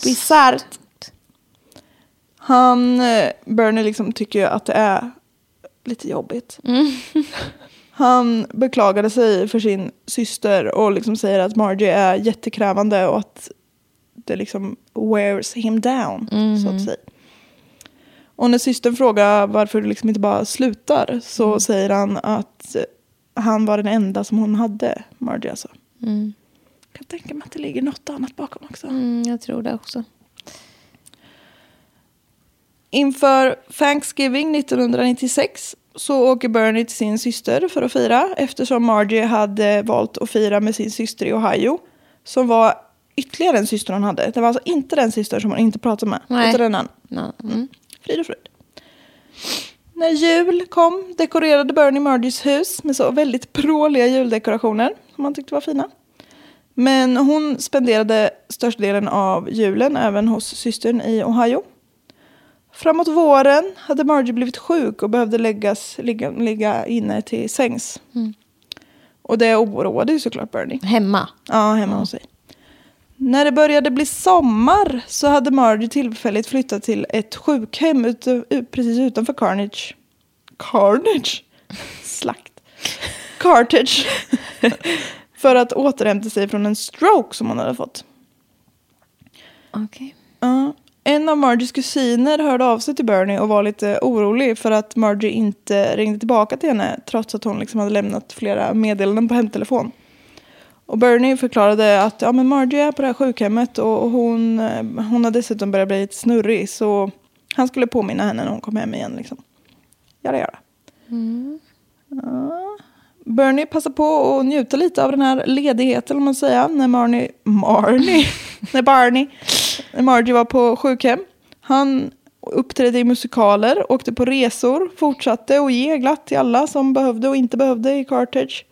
S3: Bisarrt. Han, eh, Bernie liksom tycker ju att det är lite jobbigt. Han beklagade sig för sin syster och liksom säger att Margie är jättekrävande och att det liksom wears him down, så att säga. Och när systern frågar varför du liksom inte bara slutar så säger han att han var den enda som hon hade, Margie alltså. Kan tänka mig att det ligger något annat bakom också.
S4: Mm, jag tror det också.
S3: Inför Thanksgiving 1996 så åker Bernie till sin syster för att fira eftersom Margie hade valt att fira med sin syster i Ohio som var ytterligare en syster hon hade. Det var alltså inte den syster som hon inte pratade med,
S4: Nej.
S3: utan den andra.
S4: Nej. Mm.
S3: Frid och fröjd. När jul kom dekorerade Bernie Margies hus med så väldigt pråliga juldekorationer som han tyckte var fina. Men hon spenderade största delen av julen även hos systern i Ohio. Framåt våren hade Margie blivit sjuk och behövde läggas, ligga, ligga inne till sängs. Och det oroade ju såklart Bernie.
S4: Hemma.
S3: Ja, hemma hos sig. När det började bli sommar så hade Margie tillfälligt flyttat till ett sjukhem ut, ut, precis utanför Carnage. Carnage? Slakt. Cartage. För att återhämta sig från en stroke som hon hade fått.
S4: Okej.
S3: Ja. En av Margies kusiner hörde av sig till Bernie och var lite orolig för att Margie inte ringde tillbaka till henne trots att hon liksom hade lämnat flera meddelanden på hemtelefon. Och Bernie förklarade att ja, men Margie är på det här sjukhemmet och hon, eh, hon har dessutom börjat bli lite snurrig så han skulle påminna henne när hon kom hem igen. Liksom. Jada, jada. Ja. Bernie passar på att njuta lite av den här ledigheten, om man säger, när Marnie, Marnie, när Barney, när Margie var på sjukhem. Han uppträdde i musikaler, åkte på resor, fortsatte att ge glatt till alla som behövde och inte behövde i Cartage.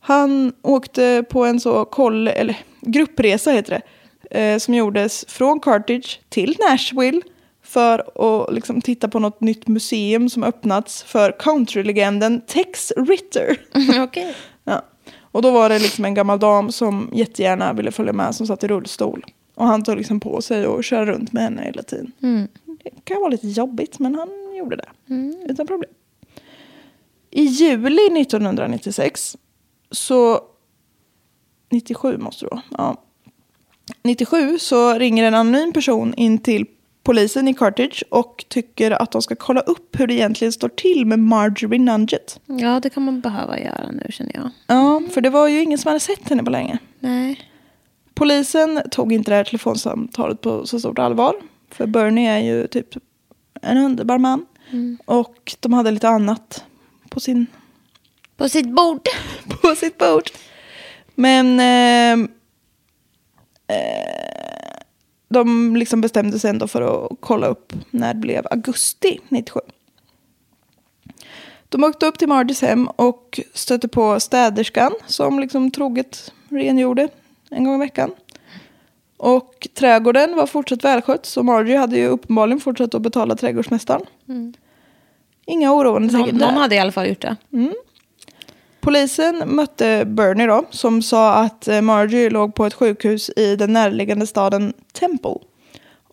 S3: Han åkte på en så koll, eller gruppresa heter det, eh, som gjordes från Cartage till Nashville för att liksom titta på något nytt museum som öppnats för countrylegenden Tex Ritter.
S4: Okej.
S3: Ja. Och då var det liksom en gammal dam som jättegärna ville följa med som satt i rullstol. Och han tog liksom på sig att köra runt med henne hela tiden. Det kan vara lite jobbigt men han gjorde det. Utan problem. I juli 1996 så... 97 måste det vara. Ja. 97 så ringer en anonym person in till polisen i Carthage och tycker att de ska kolla upp hur det egentligen står till med Marjorie Nunget.
S7: Ja, det kan man behöva göra nu känner jag.
S3: Ja, för det var ju ingen som hade sett henne på länge.
S7: Nej.
S3: Polisen tog inte det här telefonsamtalet på så stort allvar. För Bernie är ju typ en underbar man. Och de hade lite annat på, sin,
S7: På sitt bord.
S3: på sitt bord. Men eh, eh, de liksom bestämde sig ändå för att kolla upp när det blev augusti 97. De åkte upp till Margis hem och stötte på städerskan som liksom troget rengjorde en gång i veckan. Och trädgården var fortsatt välskött så Margie hade ju uppenbarligen fortsatt att betala trädgårdsmästaren. Inga oroande
S7: Mm. Någon,
S3: tecken där.
S7: någon hade i alla fall gjort det.
S3: Polisen mötte Bernie då, som sa att eh, Margie låg på ett sjukhus i den närliggande staden Temple.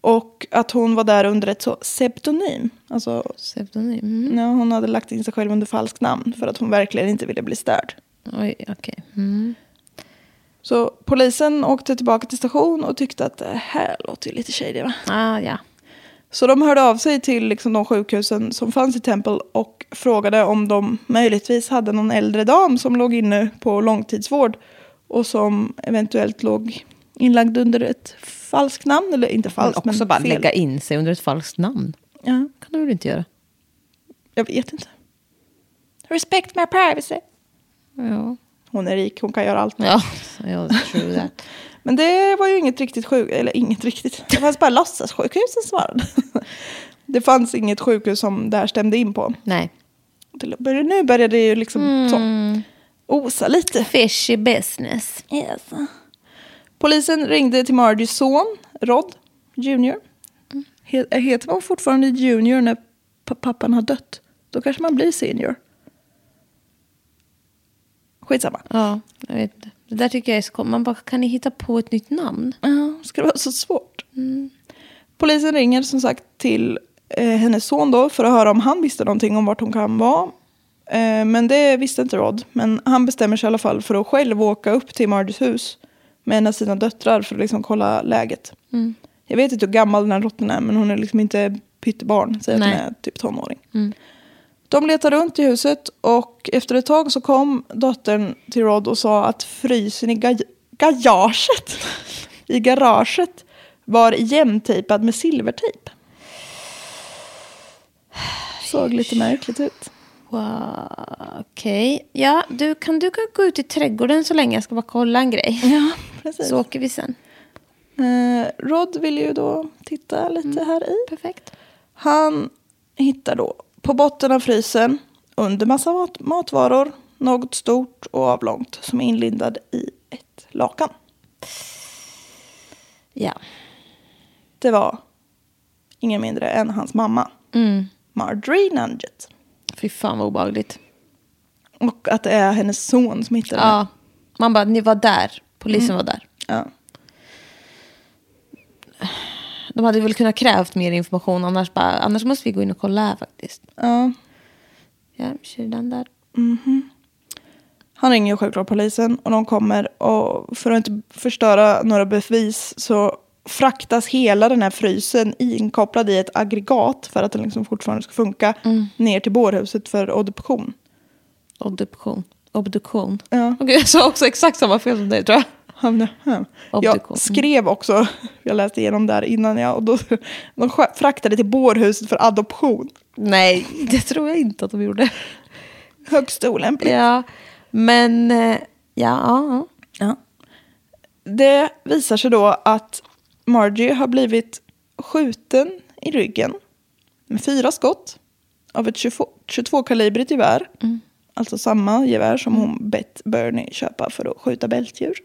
S3: Och att hon var där under ett så pseudonym. Alltså,
S7: Pseudonym. Mm.
S3: ja, hon hade lagt in sig själv under falskt namn för att hon verkligen inte ville bli störd.
S7: Oj, okej. Mm.
S3: Så polisen åkte tillbaka till station och tyckte att det här låter ju lite shady va?
S7: Ah, ja.
S3: Så de hörde av sig till liksom de sjukhusen som fanns i Temple och frågade om de möjligtvis hade någon äldre dam som låg inne på långtidsvård och som eventuellt låg inlagd under ett falskt namn, eller inte
S4: Men
S3: falskt men,
S4: också bara
S3: fel.
S4: lägga in sig under ett falskt namn.
S3: Ja,
S4: kan du väl inte göra?
S3: jag vet inte. Respect my privacy.
S4: Ja.
S3: Hon är rik, hon kan göra allt.
S4: Ja, jag tror det.
S3: Men det var ju inget riktigt sjuk... Eller inget riktigt. Det fanns bara låtsassjukhusen svarade. Det fanns inget sjukhus som det här stämde in på.
S4: Nej.
S3: Det började- Nu börjar det ju liksom så, osa lite.
S7: Fishy business.
S3: Polisen ringde till Margies son, Rod Junior. He- eh, heter man fortfarande Junior när pa- pappan har dött? Då kanske man blir Senior. Skitsamma.
S7: Ja, jag vet inte. Det där tycker jag är så kom. Man bara, kan ni hitta på ett nytt namn?
S3: Ja, ska det vara så svårt? Polisen ringer som sagt till eh, hennes son då för att höra om han visste någonting om vart hon kan vara. Eh, men det visste inte Rod. Men han bestämmer sig i alla fall för att själv åka upp till Margies hus med en av sina döttrar för att liksom kolla läget. Jag vet inte hur gammal den här rotten är men hon är liksom inte pyttebarn. Säg att hon
S7: Nej.
S3: är typ tonåring. De letar runt i huset och efter ett tag så kom dottern till Rod och sa att frysen i ga- garaget, i garaget var jämntejpad med silvertejp. Såg lite märkligt ut.
S7: Wow, okej. Ja, du kan du kan gå ut i trädgården så länge. Jag ska bara kolla en grej.
S3: Ja, precis.
S7: Så åker vi sen.
S3: Eh, Rod ville ju då titta lite här i.
S7: Perfekt.
S3: Han hittar då på botten av frysen under massa mat- matvaror något stort och avlångt som är inlindad i ett lakan.
S7: Ja.
S3: Det var ingen mindre än hans mamma,
S7: Mm.
S3: Marjorie Nunget.
S7: Fy fan vad obehagligt.
S3: Och att det är hennes son som hittar henne.
S7: Ja. Mm. Man bara, ni var där. Polisen var där.
S3: Ja.
S7: De hade väl kunnat krävt mer information annars, bara, annars måste vi gå in och kolla här faktiskt.
S3: Ja.
S7: Ja, kör den där.
S3: Han ringer ju självklart polisen och de kommer och för att inte förstöra några bevis så fraktas hela den här frysen inkopplad i ett aggregat för att den liksom fortfarande ska funka
S7: Mm.
S3: ner till bårhuset för obduktion.
S7: Obduktion. Obduktion.
S3: Ja.
S7: Okej, jag sa också exakt samma fel som dig tror jag.
S3: Hamna- hem.
S7: Obduktion.
S3: Jag skrev också, jag läste igenom där innan jag, och då, de sk- fraktade till bårhuset för adoption.
S7: Nej, det tror jag inte att de gjorde.
S3: Högst olämpligt.
S7: Ja, men eh, ja. ja.
S3: Ja. Det visar sig då att Margie har blivit skjuten i ryggen med fyra skott av ett 22-kalibrigt gevär. Alltså samma gevär som hon bett Bernie köpa för att skjuta bältdjur.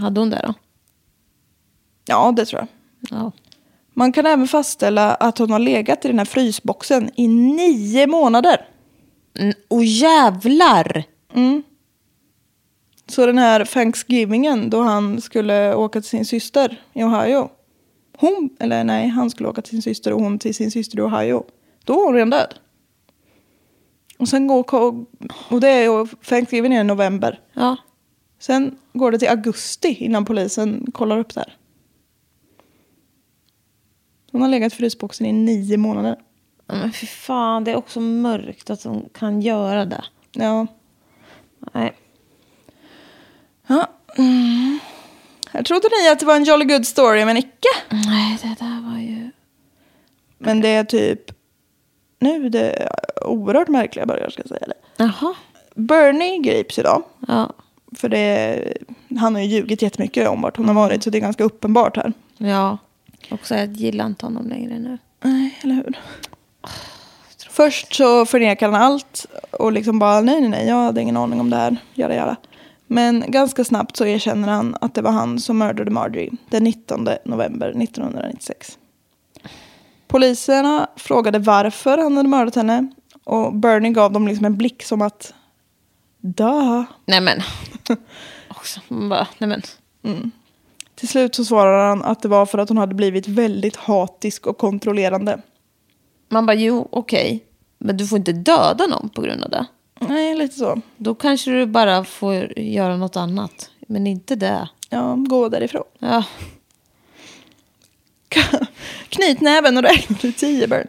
S7: Hade hon det då?
S3: Ja, det tror jag.
S7: Ja.
S3: Man kan även fastställa att hon har legat i den här frysboxen i nio månader.
S7: Mm, och jävlar!
S3: Så den här Thanksgivingen då han skulle åka till sin syster i Ohio. Hon, eller nej, han skulle åka till sin syster och hon till sin syster i Ohio. Då var hon redan död. Och sen går, och det är ju Thanksgiving är i november.
S7: Ja.
S3: Sen går det till augusti innan polisen kollar upp det här. Hon har legat i frysboxen i nio månader.
S7: Ja, Men fy fan, det är också mörkt att de kan göra det.
S3: Ja.
S7: Nej.
S3: ja. Mm. Jag trodde ni att det var en jolly good story, men icke.
S7: Nej, det där var ju...
S3: Men det är typ... Nu det är oerhört märkliga börjar jag ska säga det.
S7: Jaha.
S3: Bernie grips idag.
S7: Ja.
S3: För det, han har ju ljugit jättemycket om vart hon har varit, så det är ganska uppenbart här.
S7: Ja. Också, jag gillar inte honom längre nu.
S3: Nej, eller hur? Först så förnekar han allt och liksom bara nej, nej, nej, jag hade ingen aning om det här. Jada, jada. Men ganska snabbt så erkänner han att det var han som mördade Marjorie den 19 november 1996. Poliserna frågade varför han hade mördat henne och Bernie gav dem liksom en blick som att dö.
S7: Nej men. Också, man bara, nej men.
S3: Till slut så svarar han att det var för att hon hade blivit väldigt hatisk och kontrollerande.
S7: Man bara, jo okej. Men du får inte döda någon på grund av det.
S3: Nej, lite så.
S7: Då kanske du bara får göra något annat. Men inte det.
S3: Ja, gå därifrån.
S7: Ja.
S3: Knyt näven och räkna till tio Bern.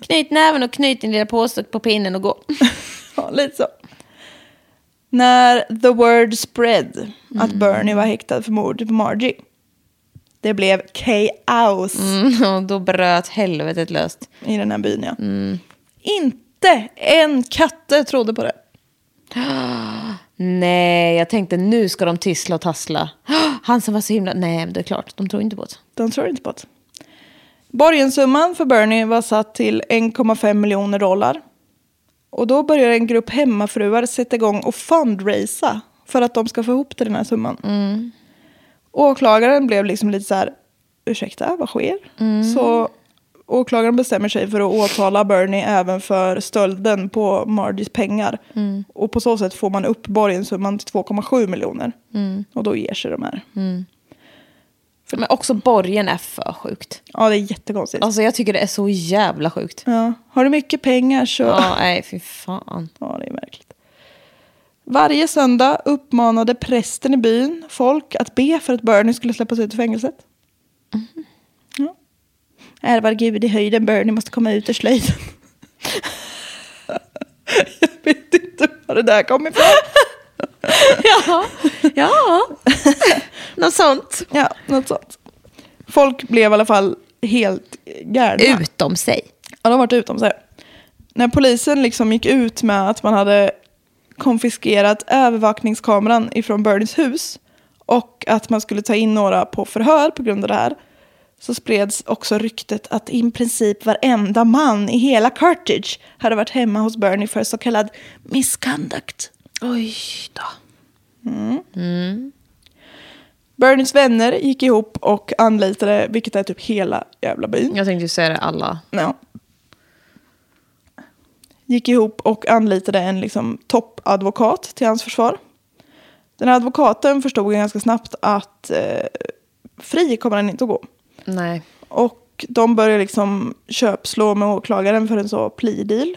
S7: Knyt näven och knyt din lilla påse på pinnen och gå.
S3: Ja, lite så. När the word spread att Bernie var häktad för mordet på Margie. Det blev kaos
S7: Mm, och då bröt helvetet löst.
S3: i den här byn. Ja. Inte en katte trodde på det.
S7: Nej, jag tänkte nu ska de tissla och tassla. Han som var så himla... Nej, men det är klart. De tror inte på det.
S3: De tror inte på det. Borgensumman för Bernie var satt till 1,5 miljoner dollar. Och då börjar en grupp hemmafruar sätta igång och fundraisa för att de ska få ihop till den här summan. Åklagaren blev liksom lite så här, ursäkta, vad sker? Så åklagaren bestämmer sig för att åtala Bernie även för stölden på Margies pengar. Och på så sätt får man upp borgensumman till 2,7 miljoner. Och då ger sig de här.
S7: Men också borgen är för sjukt.
S3: Ja, det är jättekonstigt.
S7: Alltså jag tycker det är så jävla sjukt.
S3: Ja. Har du mycket pengar så...
S7: Ja, nej, fy fan.
S3: Ja, det är märkligt. Varje söndag uppmanade prästen i byn folk att be för att Bernie skulle släppas ut ur fängelset. Ja. Ärvar Gud i höjden, Bernie måste komma ut ur slöjden. Jag vet inte var det där kom ifrån.
S7: Ja, ja. Något sånt.
S3: Ja, något sånt. Folk blev i alla fall helt galna.
S7: Utom sig.
S3: Ja, de har varit utom sig. När polisen liksom gick ut med att man hade konfiskerat övervakningskameran ifrån Bernies hus och att man skulle ta in några på förhör på grund av det här så spreds också ryktet att i princip varenda man i hela Carthage hade varit hemma hos Bernie för så kallad misconduct. Mm.
S7: Oj då. Mm.
S3: Bernies vänner gick ihop och anlitade, vilket är typ hela jävla byn.
S7: Jag tänkte ju säga det alla.
S3: Ja. Gick ihop och anlitade en liksom, toppadvokat till hans försvar. Den här advokaten förstod ju ganska snabbt att eh, fri kommer han inte att gå.
S7: Nej.
S3: Och de började liksom köpslå med åklagaren för en så plea deal.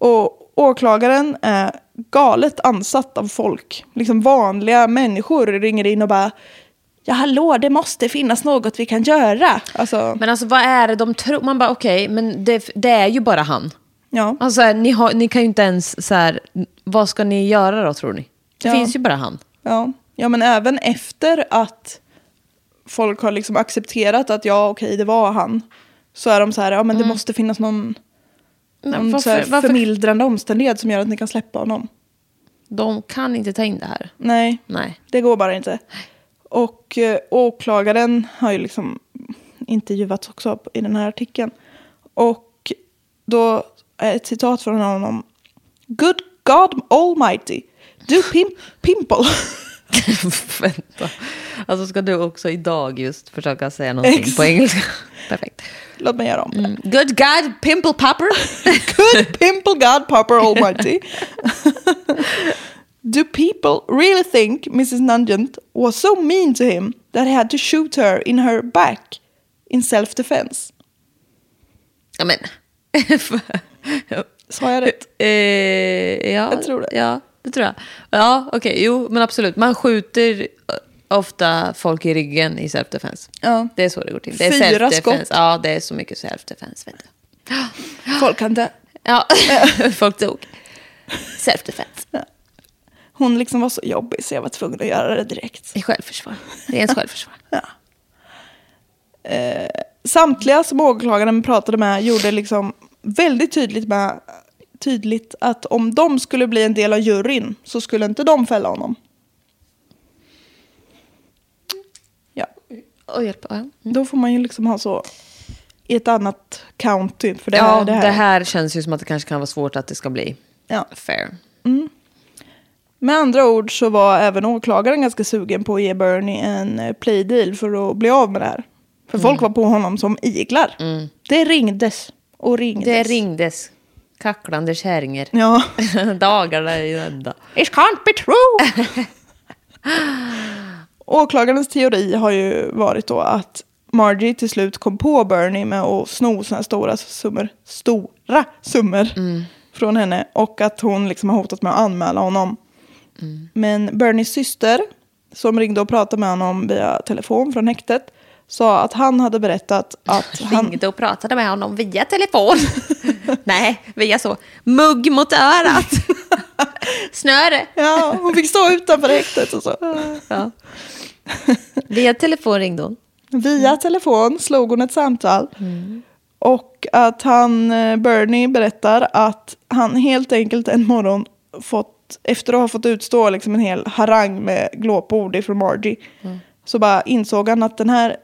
S3: Och åklagaren är galet ansatt av folk. Liksom vanliga människor ringer in och bara Ja hallå, det måste finnas något vi kan göra. Alltså,
S7: Men alltså vad är det de tror? Man bara okej, men det, det är ju bara han.
S3: ja.
S7: Alltså, så här, ni, har, ni kan ju inte ens så här, vad ska ni göra då tror ni? Det
S3: Ja.
S7: finns ju bara han.
S3: Ja. ja, men även efter att folk har liksom accepterat att ja, okej, det var han. Så är de så här, ja men det måste finnas någon,
S7: Mm,
S3: någon så här förmildrande omständighet som gör att ni kan släppa honom.
S7: De kan inte ta in det här.
S3: Nej,
S7: Nej.
S3: det går bara inte. Och eh, åklagaren har ju liksom intervjuats också i den här artikeln. Och då är ett citat från honom. Good God Almighty, do pimp pimple.
S7: Vänta. Alltså ska du också idag just försöka säga någonting på engelska? Perfekt.
S3: Låt mig göra om det.
S7: Good God, pimple popper.
S3: Good pimple god popper almighty. Do people really think Mrs. Nugent was so mean to him that he had to shoot her in her back in self-defense?
S7: ja, men.
S3: Sa jag rätt?
S7: Eh, ja,
S3: Jag tror det.
S7: Ja, det tror jag. Ja, okej. Jo, men absolut. Man skjuter ofta folk i ryggen i self-defense.
S3: Ja.
S7: Det är så det går till. Det är
S3: Fyra
S7: self-defense.
S3: skott.
S7: Ja, det är så mycket self-defense. Vet du.
S3: Folk kan dö.
S7: Ja, folk dog. Self-defense.
S3: Hon liksom var så jobbig så jag var tvungen att göra det direkt.
S7: I självförsvar. Rent självförsvar.
S3: Eh, Samtliga som åklagaren pratade med gjorde liksom väldigt tydligt, med, tydligt att om de skulle bli en del av juryn så skulle inte de fälla honom. Ja,
S7: Och hjälpa. Ja.
S3: då får man ju liksom ha så i ett annat county. För det,
S7: ja,
S3: här, det, här.
S7: känns ju som att det kanske kan vara svårt att det ska bli
S3: Ja.
S7: fair.
S3: Med andra ord så var även åklagaren ganska sugen på att ge Bernie en eh, plea deal för att bli av med det här. För folk var på honom som iglar. Det ringdes och ringdes.
S7: Det ringdes kacklande kärringar.
S3: Ja.
S7: Dagarna i ända.
S3: It can't be true! Åklagarens teori har ju varit då att Margie till slut kom på Bernie med att sno såna här stora summor, stora summor från henne och att hon liksom har hotat med att anmäla honom. Mm. Men Bernies syster, som ringde och pratade med honom via telefon från häktet, sa att han hade berättat att han...
S7: Ringde och pratade med honom via telefon. Nej, via så. Mugg mot örat. Snöre.
S3: Ja, hon fick stå utanför häktet och så.
S7: Ja. Via telefon ringde hon.
S3: Via telefon slog hon ett samtal. Och att han, eh, Bernie berättar att han helt enkelt en morgon fått, efter att ha fått utstå liksom en hel harang med glåpord ifrån Margie, så bara insåg han att den här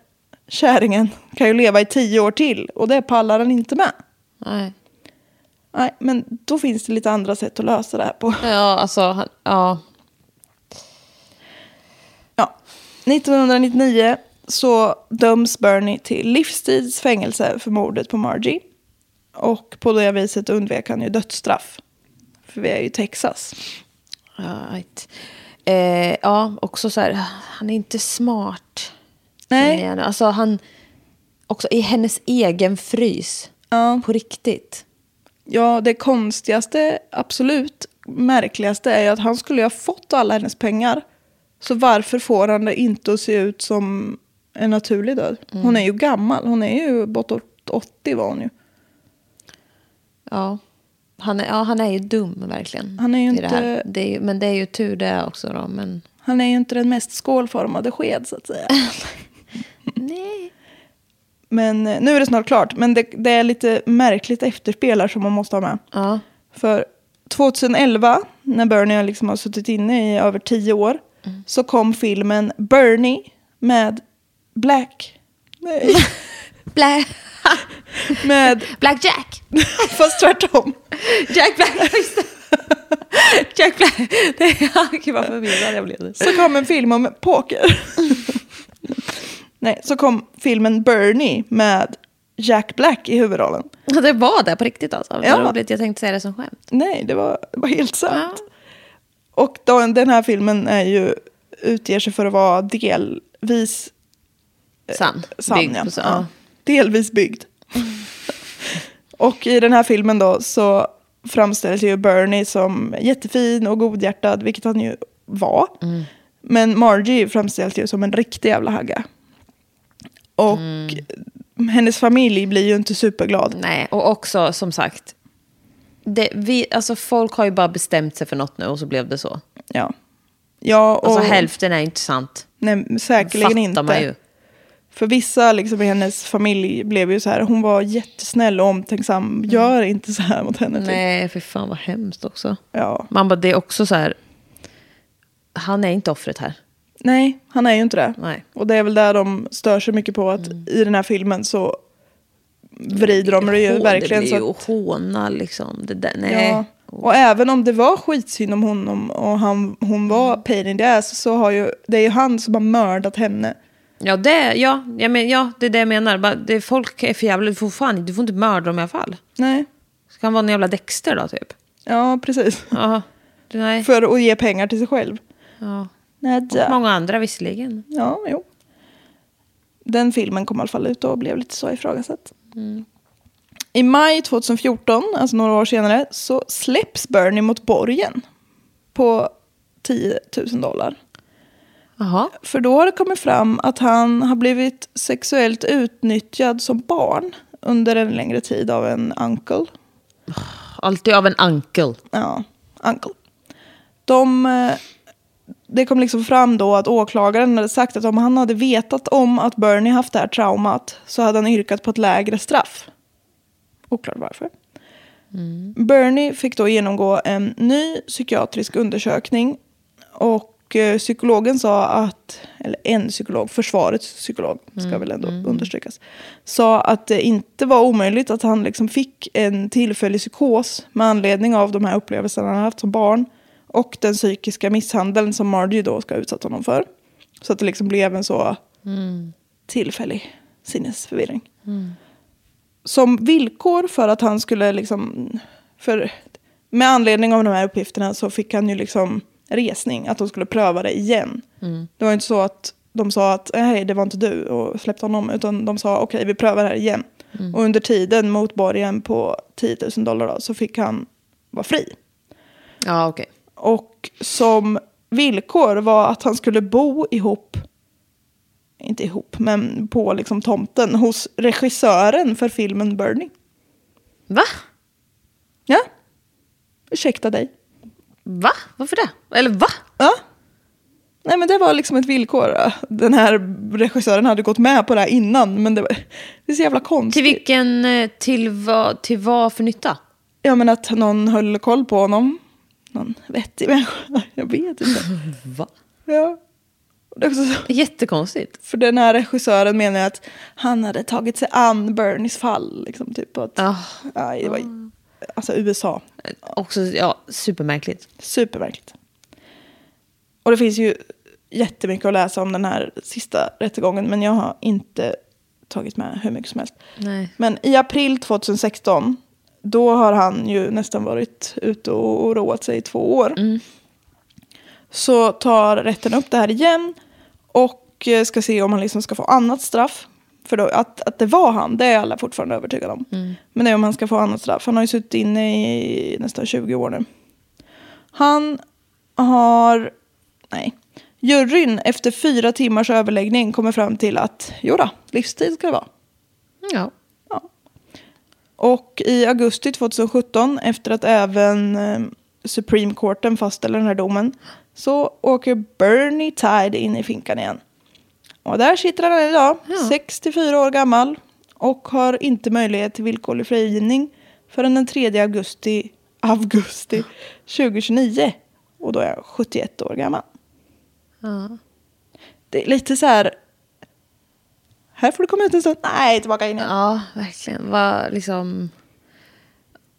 S3: kärringen kan ju leva i tio år till och det pallar han inte med.
S7: Nej.
S3: Nej, men då finns det lite andra sätt att lösa det här på.
S7: Ja, alltså, han, ja.
S3: Ja. 1999 så döms Bernie till livstids fängelse för mordet på Margie. Och på det viset undvek han ju dödsstraff. För vi är ju i Texas.
S7: Right. Eh, ja, också så här, han är inte smart.
S3: Nej.
S7: känner jag nu. Alltså han, också i hennes egen frys.
S3: Ja.
S7: På riktigt.
S3: Ja, det konstigaste, absolut märkligaste är ju att han skulle ju ha fått alla hennes pengar. Så varför får han det inte att se ut som en naturlig död? Hon är ju gammal, hon är ju bortåt 80 var hon ju.
S7: Ja. Han är, ja, han är ju dum verkligen.
S3: Han är ju
S7: i
S3: inte-
S7: Det här. Det är, ju- men det är ju tur det också då. Men
S3: Han är ju inte den mest skålformade sked så att säga.
S7: nej.
S3: Men eh, nu är det snart klart. Men det, det är lite märkligt efterspel här som man måste ha med.
S7: Ja.
S3: För 2011, när Bernie liksom har suttit inne i över tio år, så kom filmen Bernie med Black. Nej,
S7: Blä.
S3: med,
S7: Black Jack.
S3: fast tvärtom.
S7: Jack Black. just det. Jack Black. Det är, gud vad förvirrad jag blev. nu.
S3: Så kom en film om poker. Nej, så kom filmen Bernie med Jack Black i huvudrollen.
S7: Det var det på riktigt alltså. Vad
S3: Ja.
S7: roligt. Jag tänkte säga det som skämt.
S3: Nej, det var, det var helt sant. Och då, den här filmen är ju, utger sig för att vara delvis eh,
S7: Sann.
S3: sann.
S7: Byggd
S3: ja.
S7: på sann.
S3: Ja. Delvis byggd. och i den här filmen då så framställs ju Bernie som jättefin och godhjärtad, vilket han ju var.
S7: Mm.
S3: Men Margie framställs ju som en riktig jävla hagga. Och hennes familj blir ju inte superglad.
S7: Mm. Nej, och också som sagt. Det, vi, alltså folk har ju bara bestämt sig för något nu och så blev det så.
S3: Ja. Ja, och
S7: Alltså hälften är inte sant.
S3: nej, men säkerligen
S7: Fattar
S3: inte.
S7: man ju.
S3: För vissa liksom, i hennes familj blev ju så här, hon var jättesnäll och omtänksam, gör inte så här mot henne. typ.
S7: Mm. Nej, för fan vad hemskt också.
S3: Ja.
S7: Man bara, det är också så här. Han är inte offret här.
S3: Nej, han är ju inte det.
S7: Nej. Mm.
S3: Och det är väl där de stör sig mycket på att i den här filmen så vrider de det ju
S7: Hån,
S3: verkligen.
S7: Det
S3: Så
S7: blir
S3: att,
S7: ju att håna liksom. Det där, nej. Oh.
S3: ja. Och även om det var skitsynd om honom och han, hon var
S7: Mm.
S3: pain in the ass så har ju, det är ju han som har mördat henne.
S7: Ja, det, ja, jag men, ja, det är det jag menar. Bara, det, folk är för jävla, du får, fan, du får inte mörda dem i alla fall.
S3: Nej,
S7: Ska han vara en jävla Dexter då typ?
S3: ja precis.
S7: Ja, det- nej.
S3: För att ge pengar till sig själv.
S7: Ja.
S3: Nej,
S7: Och många andra visserligen.
S3: Ja, jo. Den filmen kom i alla fall ut och blev lite så ifrågasatt. I maj 2014, alltså några år senare, så släpps Bernie mot borgen på 10 000 dollar.
S7: Jaha.
S3: För då har det kommit fram att han har blivit sexuellt utnyttjad som barn under en längre tid av en uncle.
S7: Alltid av en ankel.
S3: Ja, uncle. De, eh, det kom liksom fram då att åklagaren hade sagt att om han hade vetat om att Bernie haft det här traumat så hade han yrkat på ett lägre straff. Oklart varför. Bernie fick då genomgå en ny psykiatrisk undersökning och eh, psykologen sa att, eller en psykolog, försvarets psykolog ska väl ändå understrykas, sa att det inte var omöjligt att han liksom fick en tillfällig psykos med anledning av de här upplevelserna han haft som barn och den psykiska misshandeln som Margie då ska ha utsatt honom för. Så att det liksom blev en så tillfällig sinnesförvirring som villkor för att han skulle liksom... För, med anledning av de här uppgifterna så fick han ju liksom resning, att de skulle pröva det igen. Det var ju inte så att de sa att "Eh, hej, det var inte du och släppte honom, utan de sa okej, vi prövar det här igen. Och under tiden mot borgen på 10 000 dollar då, så fick han vara fri.
S7: Ja, okej.
S3: Och som villkor var att han skulle bo ihop, inte ihop, men på liksom tomten hos regissören för filmen Bernie.
S7: Va?
S3: Ja. Ursäkta dig.
S7: Va? Varför det? Eller va?
S3: Ja. Nej men det var liksom ett villkor. Den här regissören hade gått med på det här innan men det, var, det är så jävla
S7: Till
S3: konstigt.
S7: vilken, eh, till vad, till vad för nytta?
S3: Ja men att någon höll koll på honom. Någon vettig människa. Jag vet inte.
S7: Va?
S3: Ja. Och Det är också så
S7: Jättekonstigt.
S3: För den här regissören menar ju att han hade tagit sig an Bernies fall. Liksom, typ att,
S7: Ah.
S3: aj, det var, alltså USA,
S7: Också ja, supermärkligt.
S3: superverkligt. Och det finns ju jättemycket att läsa om den här sista rättegången men jag har inte tagit med hur mycket som helst.
S7: Nej.
S3: Men i april 2016, då har han ju nästan varit ute och och roat sig i två år. Så tar rätten upp det här igen och eh, ska se om han liksom ska få annat straff. För då, att, att det var han, det är alla fortfarande övertygade om. Men det är om han ska få annat straff. Han har ju suttit inne i nästan 20 år nu. Han har... Nej. Juryn efter fyra timmars överläggning kommer fram till att jodå, livstid ska det vara.
S7: Ja.
S3: Och i augusti 2017, efter att även eh, Supreme Courten fastställer den här domen, så åker Bernie Tide in i finkan igen. Och där sitter han än idag, 64 år gammal, och har inte möjlighet till villkorlig frigivning förrän den 3 augusti, augusti 2029. Och då är han 71 år gammal. Det är lite så här... Här får du komma ut en stund. Nej, tillbaka in igen.
S7: Ja, verkligen. Var liksom...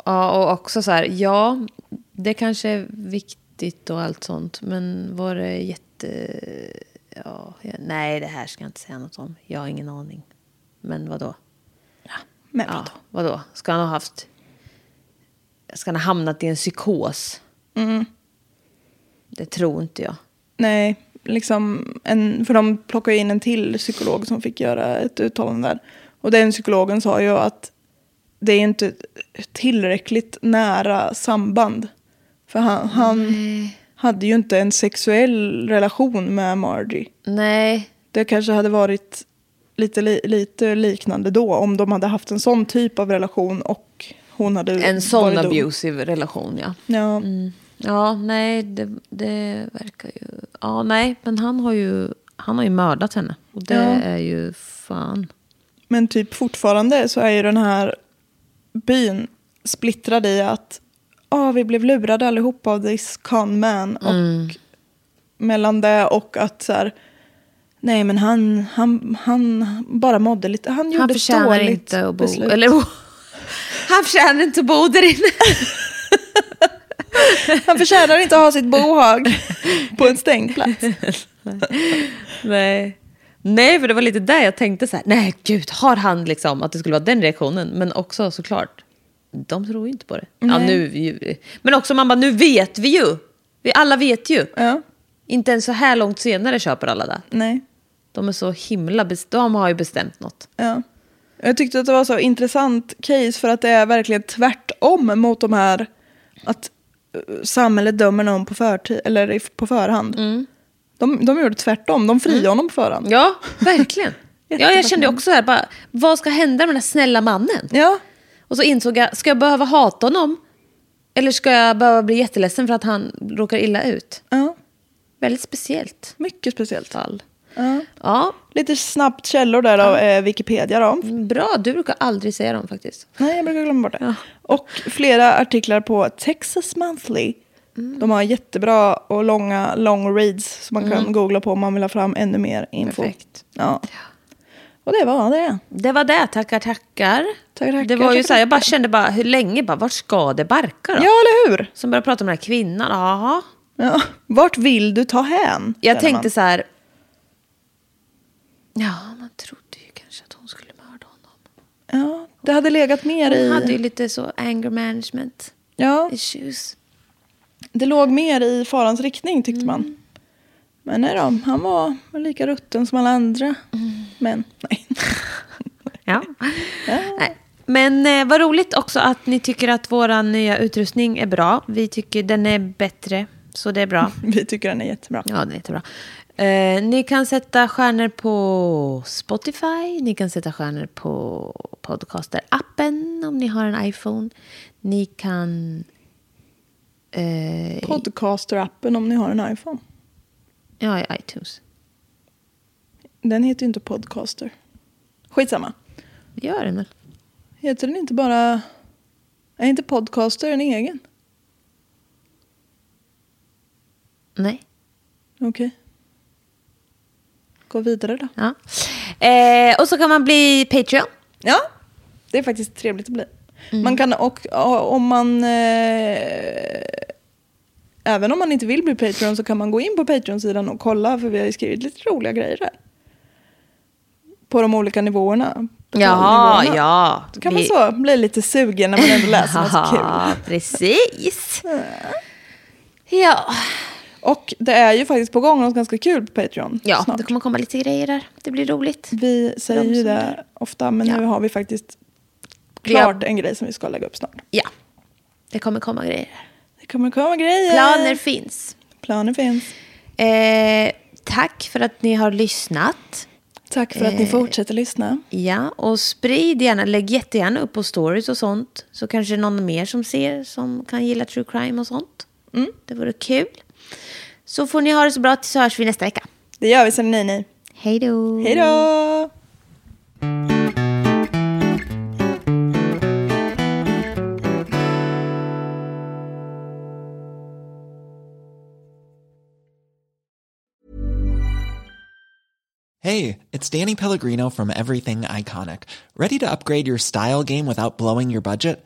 S7: Ja, och också så här, ja, det kanske är viktigt och allt sånt, men var det jätte... Ja, jag, nej, det här ska jag inte säga något om. Jag har ingen aning. Men vadå?
S3: Men
S7: Ja, vadå? Ska han ha haft... Ska han ha hamnat i en psykos?
S3: Mm.
S7: Det tror inte jag.
S3: Nej, liksom en, för de plockade in en till psykolog som fick göra ett uttalande där. Och den psykologen sa ju att det är inte ett tillräckligt nära samband. För han, han hade ju inte en sexuell relation med Margie.
S7: Nej,
S3: Det kanske hade varit lite, li, lite liknande då om de hade haft en sån typ av relation och hon hade
S7: en sån Mm.
S3: varit dum.
S7: abusive relation, ja.
S3: Ja.
S7: Ja, nej, det, det verkar ju... Ja, nej, men han har ju, han har ju mördat henne. Och det
S3: Ja.
S7: är ju fan...
S3: Men typ fortfarande så är ju den här byn splittrad i att ah, vi blev lurade allihopa av this con man.
S7: Mm.
S3: Och mellan det och att så här, nej men han, han, han bara mådde lite, han gjorde
S7: Han
S3: ett
S7: förtjänar
S3: dåligt
S7: inte att bo...
S3: beslut.
S7: Eller, han förtjänar inte att bo där inne.
S3: Han förtjänar inte att ha sitt bohag på en stängd plats.
S7: Nej. Nej, för det var lite där jag tänkte så här, nej gud, har han liksom att det skulle vara den reaktionen? Men också såklart, de tror ju inte på det. Ja, nu, ju- men också man bara, nu vet vi ju! Vi alla vet ju!
S3: Ja,
S7: Inte ens så här långt senare köper alla det.
S3: nej.
S7: De är så himla best- de har ju bestämt något.
S3: Ja. Jag tyckte att det var så intressant case för att det är verkligen tvärtom mot de här att eh, samhället dömer någon på, förtid, eller i- på förhand. De, de gjorde tvärtom, de friade honom på förhand.
S7: Mm. Ja, verkligen.
S3: Jättebra
S7: ja, jag kände också här, bara, vad ska hända med den här snälla mannen?
S3: Ja,
S7: Och så insåg jag, ska jag behöva hata honom? Eller ska jag behöva bli jätteledsen för att han råkar illa ut?
S3: ja.
S7: Väldigt speciellt
S3: mycket speciellt.
S7: fall.
S3: Ja.
S7: Ja,
S3: Lite snabbt källor där av eh, Wikipedia då.
S7: bra. Du brukar aldrig säga dem faktiskt.
S3: Nej, jag brukar glömma bort det. Och flera artiklar på Texas Monthly.
S7: Mm.
S3: De har jättebra och långa long reads som man kan googla på om man vill ha fram ännu mer info.
S7: Mm. Perfekt.
S3: Ja. Och det var det.
S7: Det var det, tackar tackar.
S3: tackar,
S7: det var ju
S3: tackar,
S7: så här, jag bara kände bara, hur länge, bara, vart ska det barka
S3: Ja,
S7: då?
S3: eller hur?
S7: Som började prata om den här kvinnan, jaha.
S3: Ja. Vart vill du ta hän?
S7: Jag
S3: känner
S7: tänkte
S3: man.
S7: så här, ja, man trodde ju kanske att hon skulle mörda honom.
S3: Ja, det hade legat mer i...
S7: Hon hade ju lite så anger management
S3: Ja,
S7: issues.
S3: det låg mer i farans riktning tyckte
S7: Mm.
S3: man. Men nej då, han var lika rutten som alla andra.
S7: Mm.
S3: Men nej.
S7: Ja. Nej. Men eh, vad roligt också att ni tycker att vår nya utrustning är bra. Vi tycker den är bättre, så det är bra.
S3: Vi tycker den är jättebra.
S7: Ja, den är jättebra. Eh, ni kan sätta stjärnor på Spotify. Ni kan sätta stjärnor på Podcaster-appen om ni har en iPhone. Ni kan... Eh,
S3: Podcaster-appen om ni har en iPhone.
S7: ja, i iTunes.
S3: Den heter ju inte Podcaster. Skitsamma.
S7: Det gör den väl?
S3: Heter den inte bara... Är inte Podcaster en egen?
S7: Nej.
S3: Okej. Gå vidare då.
S7: Ja. Eh, och så kan man bli Patreon.
S3: Ja, det är faktiskt trevligt att bli.
S7: Mm.
S3: Man kan och, och om man... Eh, även om man inte vill bli Patreon så kan man gå in på Patreon-sidan och kolla för vi har ju skrivit lite roliga grejer där. På de olika nivåerna.
S7: Jaha,
S3: betalnivåerna.
S7: ja.
S3: Då kan
S7: Vi-
S3: man så bli lite sugen när man ändå läser något kul.
S7: Ja, precis. Ja,
S3: Och det är ju faktiskt på gång något ganska kul på Patreon.
S7: ja
S3: snart.
S7: det kommer komma lite grejer där. Det blir roligt.
S3: Vi säger
S7: De
S3: ju
S7: som är
S3: det
S7: där.
S3: ofta, men
S7: Ja.
S3: nu har vi faktiskt
S7: Vi har-
S3: klart en grej som vi ska lägga upp snart.
S7: Ja, det kommer komma grejer.
S3: Det kommer komma grejer.
S7: Planer finns.
S3: Planer finns.
S7: Eh, tack för att ni har lyssnat.
S3: Tack för att ni fortsätter lyssna.
S7: Ja, och sprid gärna, lägg jättegärna upp på stories och sånt. Så kanske någon mer som ser som kan gilla true crime och sånt.
S3: Mm.
S7: Det vore kul. Så får ni ha det så bra tills så hörs vi nästa vecka.
S3: Det gör vi, sen ni ni.
S7: Hej då!
S3: Hej då!
S5: Hey, it's Danny Pellegrino from Everything Iconic. Ready to upgrade your style game without blowing your budget?